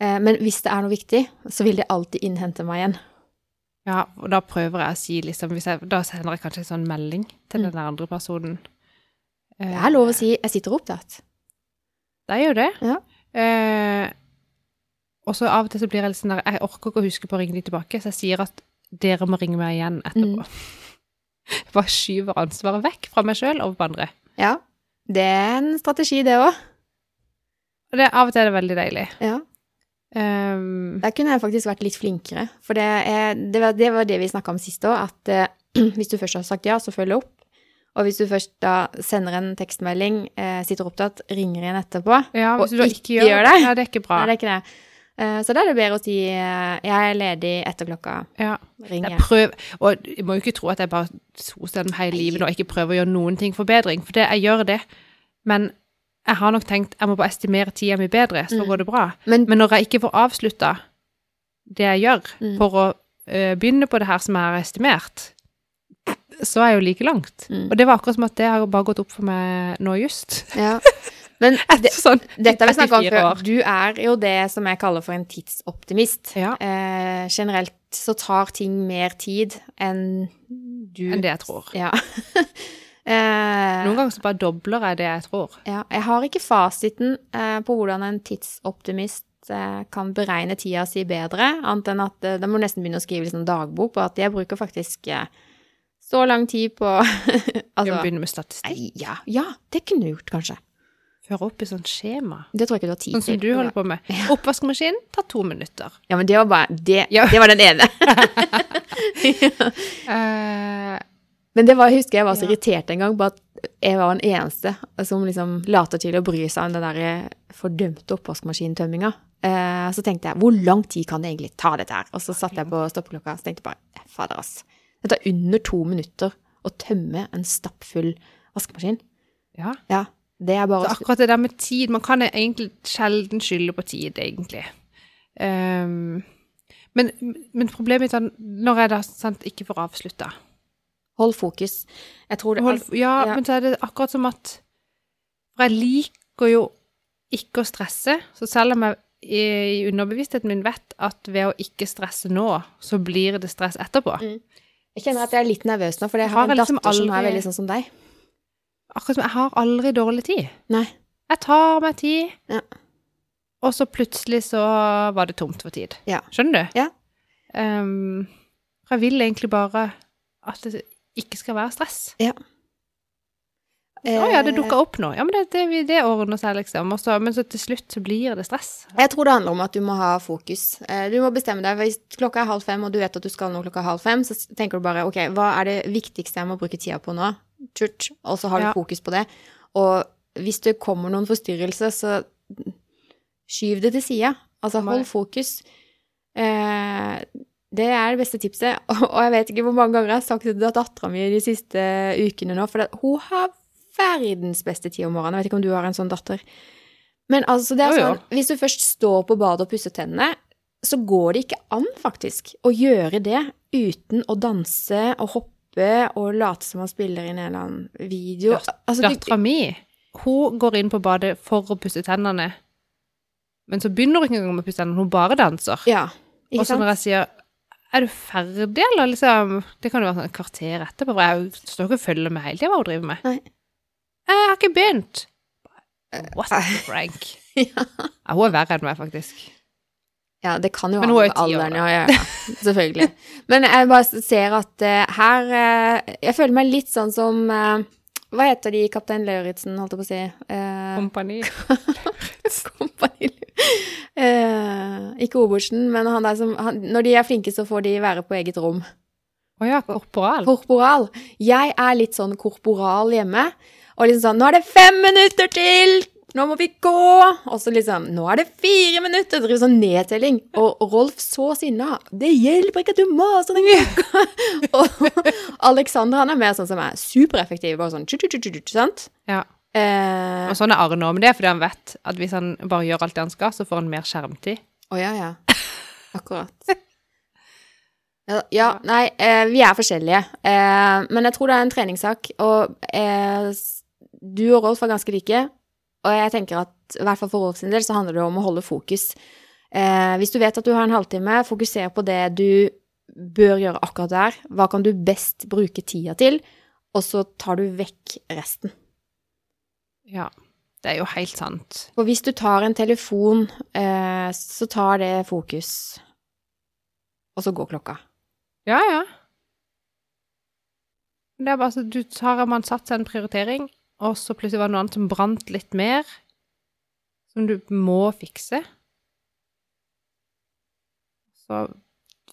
B: Eh, men hvis det er noe viktig, så vil det alltid innhente meg igjen.
A: Ja, og da prøver jeg å si liksom hvis jeg, Da sender jeg kanskje en sånn melding til
B: Mm.
A: den andre personen.
B: Det
A: Eh,
B: er lov å si 'jeg sitter opptatt'.
A: Det er jo det.
B: Ja.
A: Eh, og så av og til så blir jeg litt sånn der Jeg orker ikke å huske på å ringe de tilbake, så jeg sier at dere må ringe meg igjen etterpå.
B: Mm.
A: Jeg *laughs* bare skyver ansvaret vekk fra meg sjøl over på andre.
B: Ja. Det er en strategi, det òg.
A: Og det, av og til er det veldig deilig.
B: Ja.
A: Ehm,
B: Der kunne jeg faktisk vært litt flinkere. For det, er, det, var, det var det vi snakka om sist òg, at eh, *clears throat* hvis du først har sagt ja, så følg opp. Og hvis du først da sender en tekstmelding, eh, sitter opptatt, ringer igjen etterpå
A: ja,
B: og
A: hvis du da
B: ikke
A: ikke gjør,
B: gjør
A: det,
B: det.
A: ja, det er ikke bra.
B: Nei, det er ikke det. Eh, så da er det bedre å si eh, 'jeg er ledig etter klokka,
A: ja.
B: ring
A: Jeg
B: jeg'.
A: prøver, og jeg må jo ikke tro at jeg bare sos gjennom hele livet og ikke prøver å gjøre noen ting forbedring, for det, jeg gjør det. Men jeg har nok tenkt jeg må bare estimere tida mi bedre, så
B: Mm.
A: går det bra.
B: Men,
A: Men når jeg ikke får avslutta det jeg gjør,
B: Mm.
A: for å eh, begynner på det her som jeg har estimert, så er jeg jo like langt.
B: Mm.
A: Og det var akkurat som at det har jo bare gått opp for meg nå just.
B: Ja.
A: *laughs*
B: Men
A: Etter
B: det,
A: sånn
B: dette har vi snakka om
A: 34
B: før.
A: år.
B: Du er jo det som jeg kaller for en tidsoptimist.
A: Ja.
B: Eh, generelt så tar ting mer tid enn du
A: Enn det jeg tror.
B: Ja. *laughs* eh,
A: Noen ganger så bare dobler jeg det jeg tror.
B: Ja, jeg har ikke fasiten eh, på hvordan en tidsoptimist eh, kan beregne tida si bedre, annet enn at eh, da må du nesten begynne å skrive liksom, dagbok på at jeg bruker faktisk eh, så lang tid på *laughs*
A: Vi må
B: altså,
A: begynne med statistikk.
B: nei, ja, ja, det kunne du gjort, kanskje.
A: Føre opp i sånn skjema.
B: Det tror jeg ikke du har tid
A: Sånn som du holder på med. Oppvaskmaskinen tar to minutter.
B: Ja, men det var bare Det,
A: Ja.
B: det var den ene.
A: Eh,
B: Men det var, jeg husker jeg var så
A: Ja.
B: irritert en gang på at jeg var den eneste som liksom later til å bry seg om den der eh, fordømte oppvaskmaskintømminga. Eh, så tenkte jeg, hvor lang tid kan det egentlig ta dette her? Og så satte jeg på stoppeklokka og tenkte jeg bare, fader ass. Det tar under to minutter å tømme en stappfull vaskemaskin.
A: ja.
B: Ja, det er
A: Så
B: bare...
A: akkurat det der med tid Man kan egentlig sjelden skylde på tid, egentlig. Ehm, men, men problemet mitt er når jeg da sant, ikke får avslutta.
B: Hold fokus. Jeg tror det...
A: Hold, altså, ja,
B: ja.
A: men så er det akkurat som at For jeg liker jo ikke å stresse, så selv om jeg eh, i i underbevisstheten min vet at ved å ikke stresse nå, så blir det stress etterpå.
B: Mm. jeg kjenner at jeg er litt nervøs nå, for jeg
A: Jeg
B: har,
A: har
B: en datter
A: liksom
B: som er
A: aldri-
B: veldig sånn som deg.
A: Akkurat som jeg har aldri dårlig tid.
B: Nei.
A: Jeg tar meg tid,
B: Ja.
A: og så plutselig så var det tomt for tid.
B: Ja.
A: Skjønner du?
B: Ja.
A: Ehm, for jeg vil egentlig bare at det ikke skal være stress. Å ja, det
B: Eh,
A: dukka opp nå. Ja, men det, det, det ordner seg, liksom. Og så, men så til slutt så blir det stress.
B: Jeg tror det handler om at du må ha fokus. Eh, Du må bestemme deg. Hvis klokka er halv fem, og du vet at du skal nå klokka halv fem, så s- tenker du bare ok, hva er det viktigste jeg må bruke tida på nå? Tjurt. Og så har du
A: Ja.
B: fokus på det. Og hvis det kommer noen forstyrrelse, så skyv det til sida. Altså
A: Må
B: hold
A: det.
B: fokus. Eh, Det er det beste tipset. *laughs* Og og jeg vet ikke hvor mange ganger jeg har sagt det til dattera mi de siste ukene nå, for det- hun har verdens beste tid om morgenen. Jeg vet ikke om du har en sånn datter. Men altså, det er
A: Jo, jo.
B: sånn, hvis du først står på badet og pusser tennene, så går det ikke an faktisk å gjøre det uten å danse og hoppe og late som man spiller inn en eller annen video.
A: Dat-
B: Altså, du,
A: Dattera mi, hun går inn på badet for å pusse tennene. Men så begynner hun ikke engang med å pusse tennene, hun bare danser.
B: ja,
A: Og
B: ikke
A: så når jeg
B: sant?
A: sier er du ferdig, eller liksom Det kan jo være sånn et kvarter etterpå, for jeg er jo- står ikke og følger med hele tida hva hun driver med.
B: Nei. Eh,
A: Jeg har ikke begynt. What the
B: *laughs*
A: frank?
B: Ja.
A: Ja, hun er verre enn meg, faktisk.
B: Ja, det kan jo
A: Men
B: ha
A: hun er
B: noe med
A: jo ti år,
B: alderen ja, ja, ja, *laughs* selvfølgelig. Men jeg bare ser at eh, her eh, Jeg føler meg litt sånn som eh, Hva heter de i Kaptein Lauritzen, holdt jeg på å si? Eh,
A: Kompani. *laughs*
B: Kompani Lu. Eh, ikke Obersten, men han der som han, Når de er flinke, så får de være på eget rom.
A: Å ja, korporal.
B: Korporal. Jeg er litt sånn korporal hjemme. Og liksom sånn Nå er det fem minutter til! Nå må vi gå! Og så liksom Nå er det fire minutter! Driver sånn nedtelling. Og Rolf så sinna. Det hjelper ikke at du maser den klokka! og Alexander han er mer sånn som er supereffektiv. Bare sånn tjut, tjut, tjut, tjut, sant?
A: Ja.
B: Eh,
A: Og sånn er Arne òg, men det er fordi han vet at hvis han bare gjør alt det han skal, så får han mer skjermtid.
B: Å ja, ja. Akkurat. Ja, ja nei, eh, vi er forskjellige. Eh, men jeg tror det er en treningssak. Og eh, s- du og Rolf er ganske like. Og jeg tenker at, i hvert fall for Rolf sin del, så handler det om å holde fokus. Eh, hvis du vet at du har en halvtime, fokuser på det du bør gjøre akkurat der. Hva kan du best bruke tida til? Og så tar du vekk resten.
A: Ja. Det er jo helt sant.
B: For hvis du tar en telefon, eh, så tar det fokus. Og så går klokka.
A: Ja, ja. Men Det er bare så du tar man satt seg en prioritering, og så plutselig var det noe annet som brant litt mer, som du må fikse. Så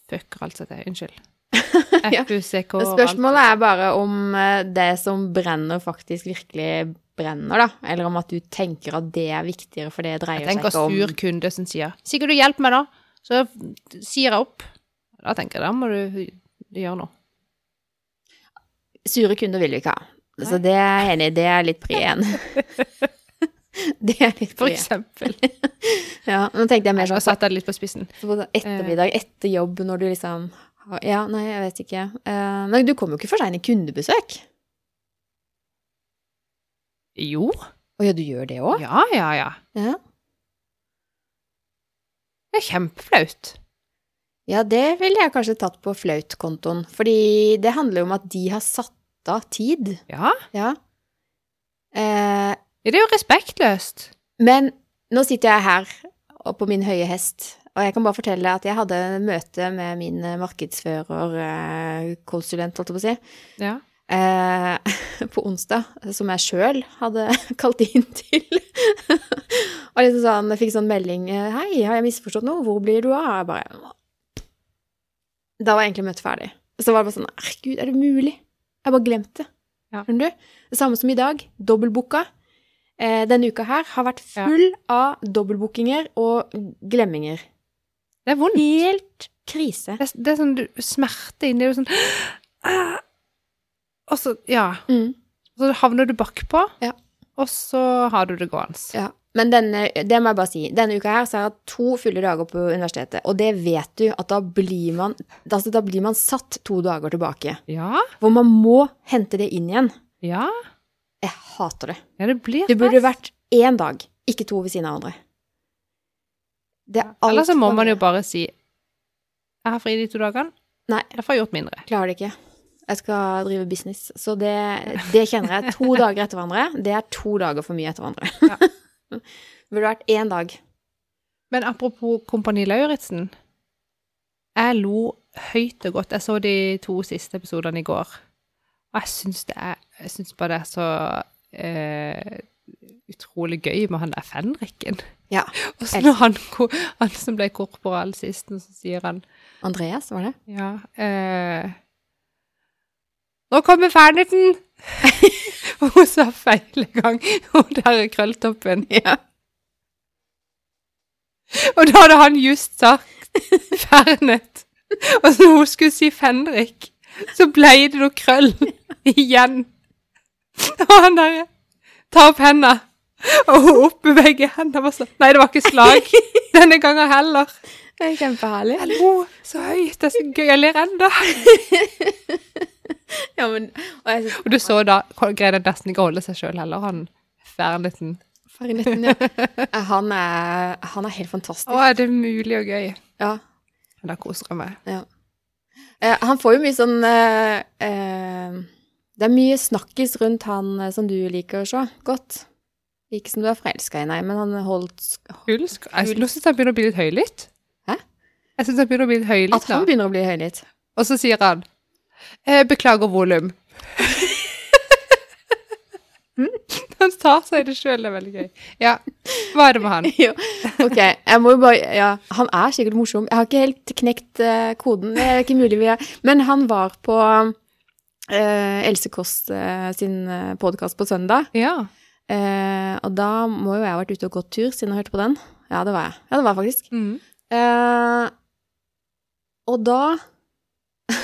A: fucker alt seg til. Unnskyld.
B: *laughs* Ja.
A: FUCK og alt.
B: Spørsmålet er bare om eh, det som brenner, faktisk virkelig brenner, da. Eller om at du tenker at det er viktigere, for det dreier seg
A: Tenk å
B: ikke om
A: sur kunde som sier 'Sigurd, hjelp meg, da.' Så sier jeg opp. Da tenker jeg da må du gjøre noe.
B: Sure kunder vil vi ikke ha. Så
A: Nei.
B: det er jeg enig i. Det er litt pri én.
A: *laughs*
B: det er litt
A: For
B: pri én.
A: eksempel. *laughs* sånn
B: Ja, nå tenkte jeg mer
A: Nå
B: sånn
A: satte jeg det litt på spissen.
B: på ettermiddag, etter jobb, når du liksom har- Ja, nei, jeg vet ikke. Eh, men du kom jo ikke for seint i kundebesøk.
A: Jo.
B: Å ja, du gjør det òg?
A: Ja, ja, ja.
B: Ja.
A: Det er kjempeflaut.
B: ja, det ville jeg kanskje tatt på flaut-kontoen. Fordi det handler jo om at de har satt av tid.
A: Ja.
B: Ja. Eh,
A: Det er jo respektløst.
B: Men nå sitter jeg her og på min høye hest, og jeg kan bare fortelle at jeg hadde møte med min eh, markedsfører, eh, konsulent, holdt jeg på å si,
A: Ja.
B: eh, *laughs* på onsdag, som jeg sjøl hadde *laughs* kalt inn til. og liksom sånn, jeg fikk sånn melding eh, 'Hei, har jeg misforstått noe? Hvor blir du av?' Jeg bare «Åh». Da var egentlig møtet ferdig. Så var det bare sånn 'Herregud, er det mulig?' Jeg bare glemte det.
A: Ja.
B: Skjønner du? Det samme som i dag. Dobbeltbooka. Eh, denne uka her har vært full av dobbeltbookinger og glemminger.
A: Det er vondt.
B: Helt krise.
A: Det er, det er sånn du, smerte inni deg. Sånn «Ah!» Og så, ja.
B: Mm.
A: Så havner du bakpå,
B: Ja.
A: og så har du det gående.
B: Ja, men denne, det må jeg bare si. Denne uka her så har jeg hatt to fulle dager på universitetet. Og det vet du, at da blir man, altså, da blir man satt to dager tilbake.
A: Ja.
B: Hvor man må hente det inn igjen.
A: Ja.
B: Jeg hater det.
A: Ja, det blir
B: Det burde
A: stress.
B: vært én dag, ikke to ved siden av hverandre. Det er alt
A: Eller så må
B: for-
A: man jo bare si Jeg har fri de to dagene,
B: Nei,
A: derfor har jeg gjort mindre.
B: klarer det ikke. Jeg skal drive business. Så det, det kjenner jeg. To dager etter hverandre, det er to dager for mye etter hverandre.
A: Ja.
B: Det *laughs* burde vært én dag.
A: Men apropos Kompani Lauritzen. Jeg lo høyt og godt. Jeg så de to siste episodene i går. Og jeg syns det er Jeg syns bare det er så eh, utrolig gøy med han der fenriken.
B: Ja.
A: Og så når han, ko- han som ble korporal sist, så sier han
B: Andreas, var det?
A: Ja. Eh, nå kommer ferniken! Og *laughs* hun sa feil en gang. Hun der krølltoppen.
B: Ja.
A: Og da hadde han just sagt fernet. Og så når hun skulle si fenrik, så ble det noe krøll igjen. Og han der tar opp henda, og hun opp med begge hendene. Bare sånn Nei, det var ikke slag denne gangen heller.
B: Det er kjempeherlig.
A: Jeg lo så høyt. Det er så gøy. Jeg ler ennå.
B: Ja, men, og jeg synes,
A: Og du så da greide nesten ikke å holde seg sjøl heller, han ferneten.
B: Farinetten, ja. Eh, Han er, han er helt fantastisk.
A: Å, er det mulig og gøy?
B: Ja,
A: Da koser jeg meg.
B: ja. Eh, han får jo mye sånn eh, eh, Det er mye snakkis rundt han eh, som du liker så godt. Ikke som du er forelska i, nei, men han holdt sk-
A: Hulsk. Jeg, nå syns jeg han begynner å bli litt høylytt.
B: Hæ?
A: Jeg syns han begynner å bli litt høylytt
B: At han
A: nå.
B: begynner å bli *laughs* høylytt.
A: Og så sier han eh, 'beklager *laughs* volum'. han tar seg i det sjøl, det er veldig gøy. Ja. Hva er det med han?
B: Jo. Ok, jeg må jo bare Ja, han er sikkert morsom. Jeg har ikke helt knekt eh, koden. Det er ikke mulig vi er Men han var på eh, Else Kåss eh, sin uh, podkast på søndag.
A: Ja.
B: Eh, og da må jo jeg ha vært ute og gått tur siden jeg hørte på den. Ja, det var jeg. Ja, det var jeg faktisk.
A: Mm.
B: Eh, og da *laughs*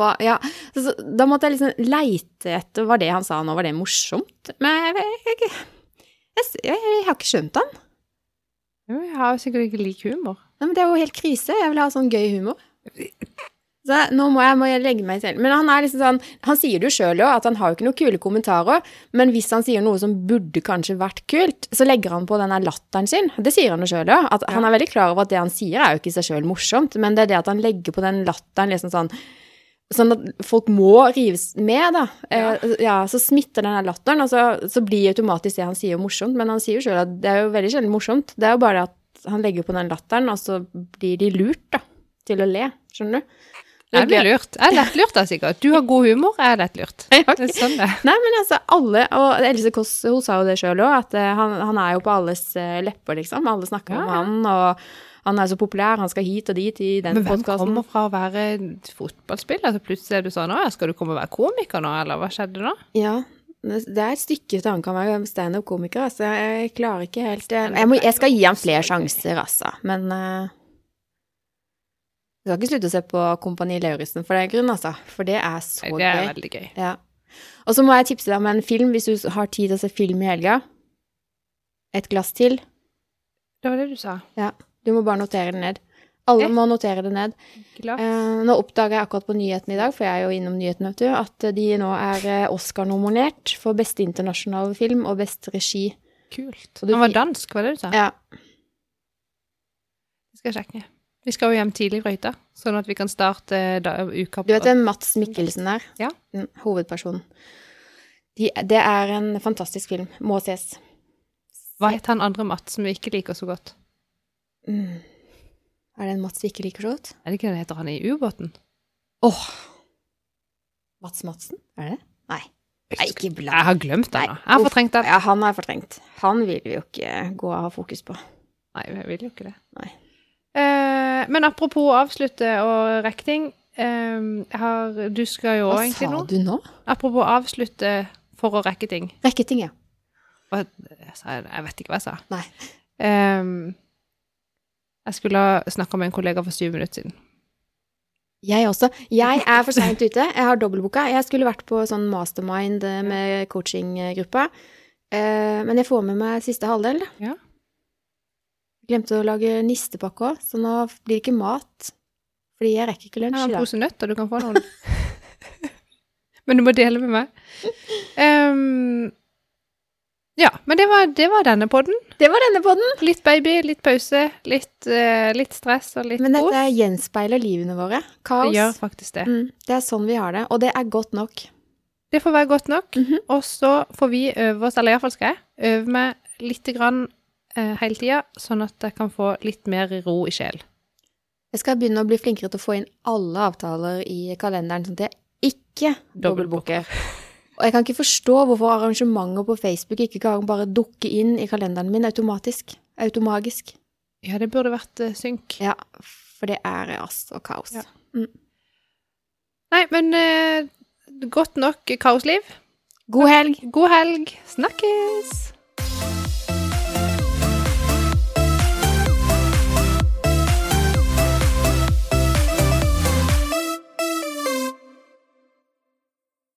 B: hva, ja, så, så, Da måtte jeg liksom leite etter Var det han sa nå, var det morsomt? Men jeg, jeg, jeg, jeg, jeg, jeg har ikke skjønt han.
A: Jo, Jeg har jo sikkert ikke lik humor.
B: Nei, men det er jo helt krise. Jeg vil ha sånn gøy humor. Så jeg- nå må jeg, må jeg legge meg selv. Men han er liksom sånn Han sier det jo sjøl òg, at han har jo ikke noen kule kommentarer. Men hvis han sier noe som burde kanskje vært kult, så legger han på den der latteren sin. Det sier han jo sjøl òg. At han er veldig klar over at det han sier, er jo ikke i seg sjøl morsomt, men det er det at han legger på den latteren liksom sånn Sånn at folk må rives med, da. Ja, eh, ja Så smitter den der latteren, og så, så blir automatisk det han sier, morsomt. Men han sier jo sjøl at det er jo veldig sjelden morsomt. Det er jo bare det at han legger på den latteren, og så blir de lurt da, til å le. Skjønner du?
A: Jeg blir lurt. Jeg er lettlurt, da, sikkert. Du har god humor, jeg er lettlurt. Det er sånn det er.
B: Nei, men altså, alle, og Else Kåss hun sa jo det sjøl òg, at eh, han, han er jo på alles eh, lepper, liksom. Alle snakker
A: Ja,
B: om
A: ja.
B: han, og han er så populær, han skal hit og dit i den
A: Men hvem
B: podkasten.
A: kommer fra å være fotballspiller, så plutselig er du sånn 'Å ja, skal du komme og være komiker nå', eller hva skjedde nå?
B: Ja, det det er et stykke til han kan være standup-komiker, altså. Jeg klarer ikke helt eh, jeg, må, jeg skal gi han flere sjanser, altså. Men eh, jeg skal ikke slutte å se på Kompani Lauritzen for den grunn, altså. For det er så
A: det er
B: gøy.
A: veldig gøy.
B: Ja. Og så må jeg tipse deg om en film, hvis du har tid til å se film i helga. Et glass til.
A: Det var det du sa.
B: Du må bare notere den ned. Alle må notere det ned.
A: Glad.
B: Eh, nå oppdaga jeg akkurat på nyhetene i dag, for jeg er jo innom nyhetene, vet du, at de nå er eh, Oscar-nominert for beste internasjonale film og beste regi.
A: Kult.
B: Og du
A: Han var
B: fi-
A: dansk, var det du sa?
B: Ja.
A: Vi skal sjekke. Vi skal jo hjem tidlig på hytta, sånn at vi kan starte da, uka
B: Du vet hvem Mats Mikkelsen er?
A: Ja.
B: Mm, Hovedpersonen. De, det er en fantastisk film. Må ses.
A: Hva het han andre Mats som vi ikke liker så godt?
B: Mm. Er det en Mats vi ikke liker så godt?
A: Er det ikke det han heter han i ubåten?
B: Åh! Mats Madsen? Er det det? Nei. Nei, ikke
A: Jeg
B: blant.
A: har glemt
B: Nei,
A: den nå. Jeg har
B: uff.
A: fortrengt den.
B: Ja, han er fortrengt. Han vil vi jo ikke gå og ha fokus på.
A: Nei, jeg vil jo ikke det.
B: Nei.
A: Eh, men apropos å avslutte og rekke ting. Eh, jeg har, du skal jo
B: Hva
A: også egentlig
B: sa
A: nå.
B: du nå?
A: Apropos å avslutte for å rekke ting.
B: Rekketing, ja.
A: Hva, jeg, sa, jeg vet ikke hva jeg sa.
B: Nei.
A: Eh, jeg skulle snakke med en kollega for syv minutter siden.
B: Jeg også. Jeg er for seint ute. Jeg har dobbeltboka. Jeg skulle vært på sånn mastermind eh, med coachinggruppa, Eh, men jeg får med meg siste halvdel. da.
A: Ja.
B: Glemte å lage nistepakke òg, så nå blir det ikke mat. Fordi jeg rekker ikke
A: Jeg
B: lunsj
A: har
B: i
A: en
B: dag.
A: pose nøtter, du kan få noen. *laughs* men du må dele med meg. Ehm, ja, men det var, det var denne podden.
B: Det var denne podden!
A: Litt baby, litt pause, litt, eh, litt stress og litt
B: Men dette
A: kos.
B: gjenspeiler livene våre. Kaos.
A: Det gjør faktisk det.
B: Mm, det er sånn vi har det, og det er godt nok.
A: Det får være godt nok.
B: Mhm.
A: Og så får vi øve oss, eller iallfall skal jeg, øve meg litt grann, eh, hele tida, sånn at jeg kan få litt mer ro i sjel.
B: Jeg skal begynne å bli flinkere til å få inn alle avtaler i kalenderen, sånn at jeg ikke dobbeltbooker. Og jeg kan ikke forstå hvorfor arrangementer på Facebook ikke kan bare dukke inn i kalenderen min automatisk. Automagisk.
A: Ja, det burde vært eh, synk.
B: Ja, for det er ras og kaos.
A: Ja. Nei, men eh, godt nok kaosliv.
B: God helg!
A: God helg. Snakkes!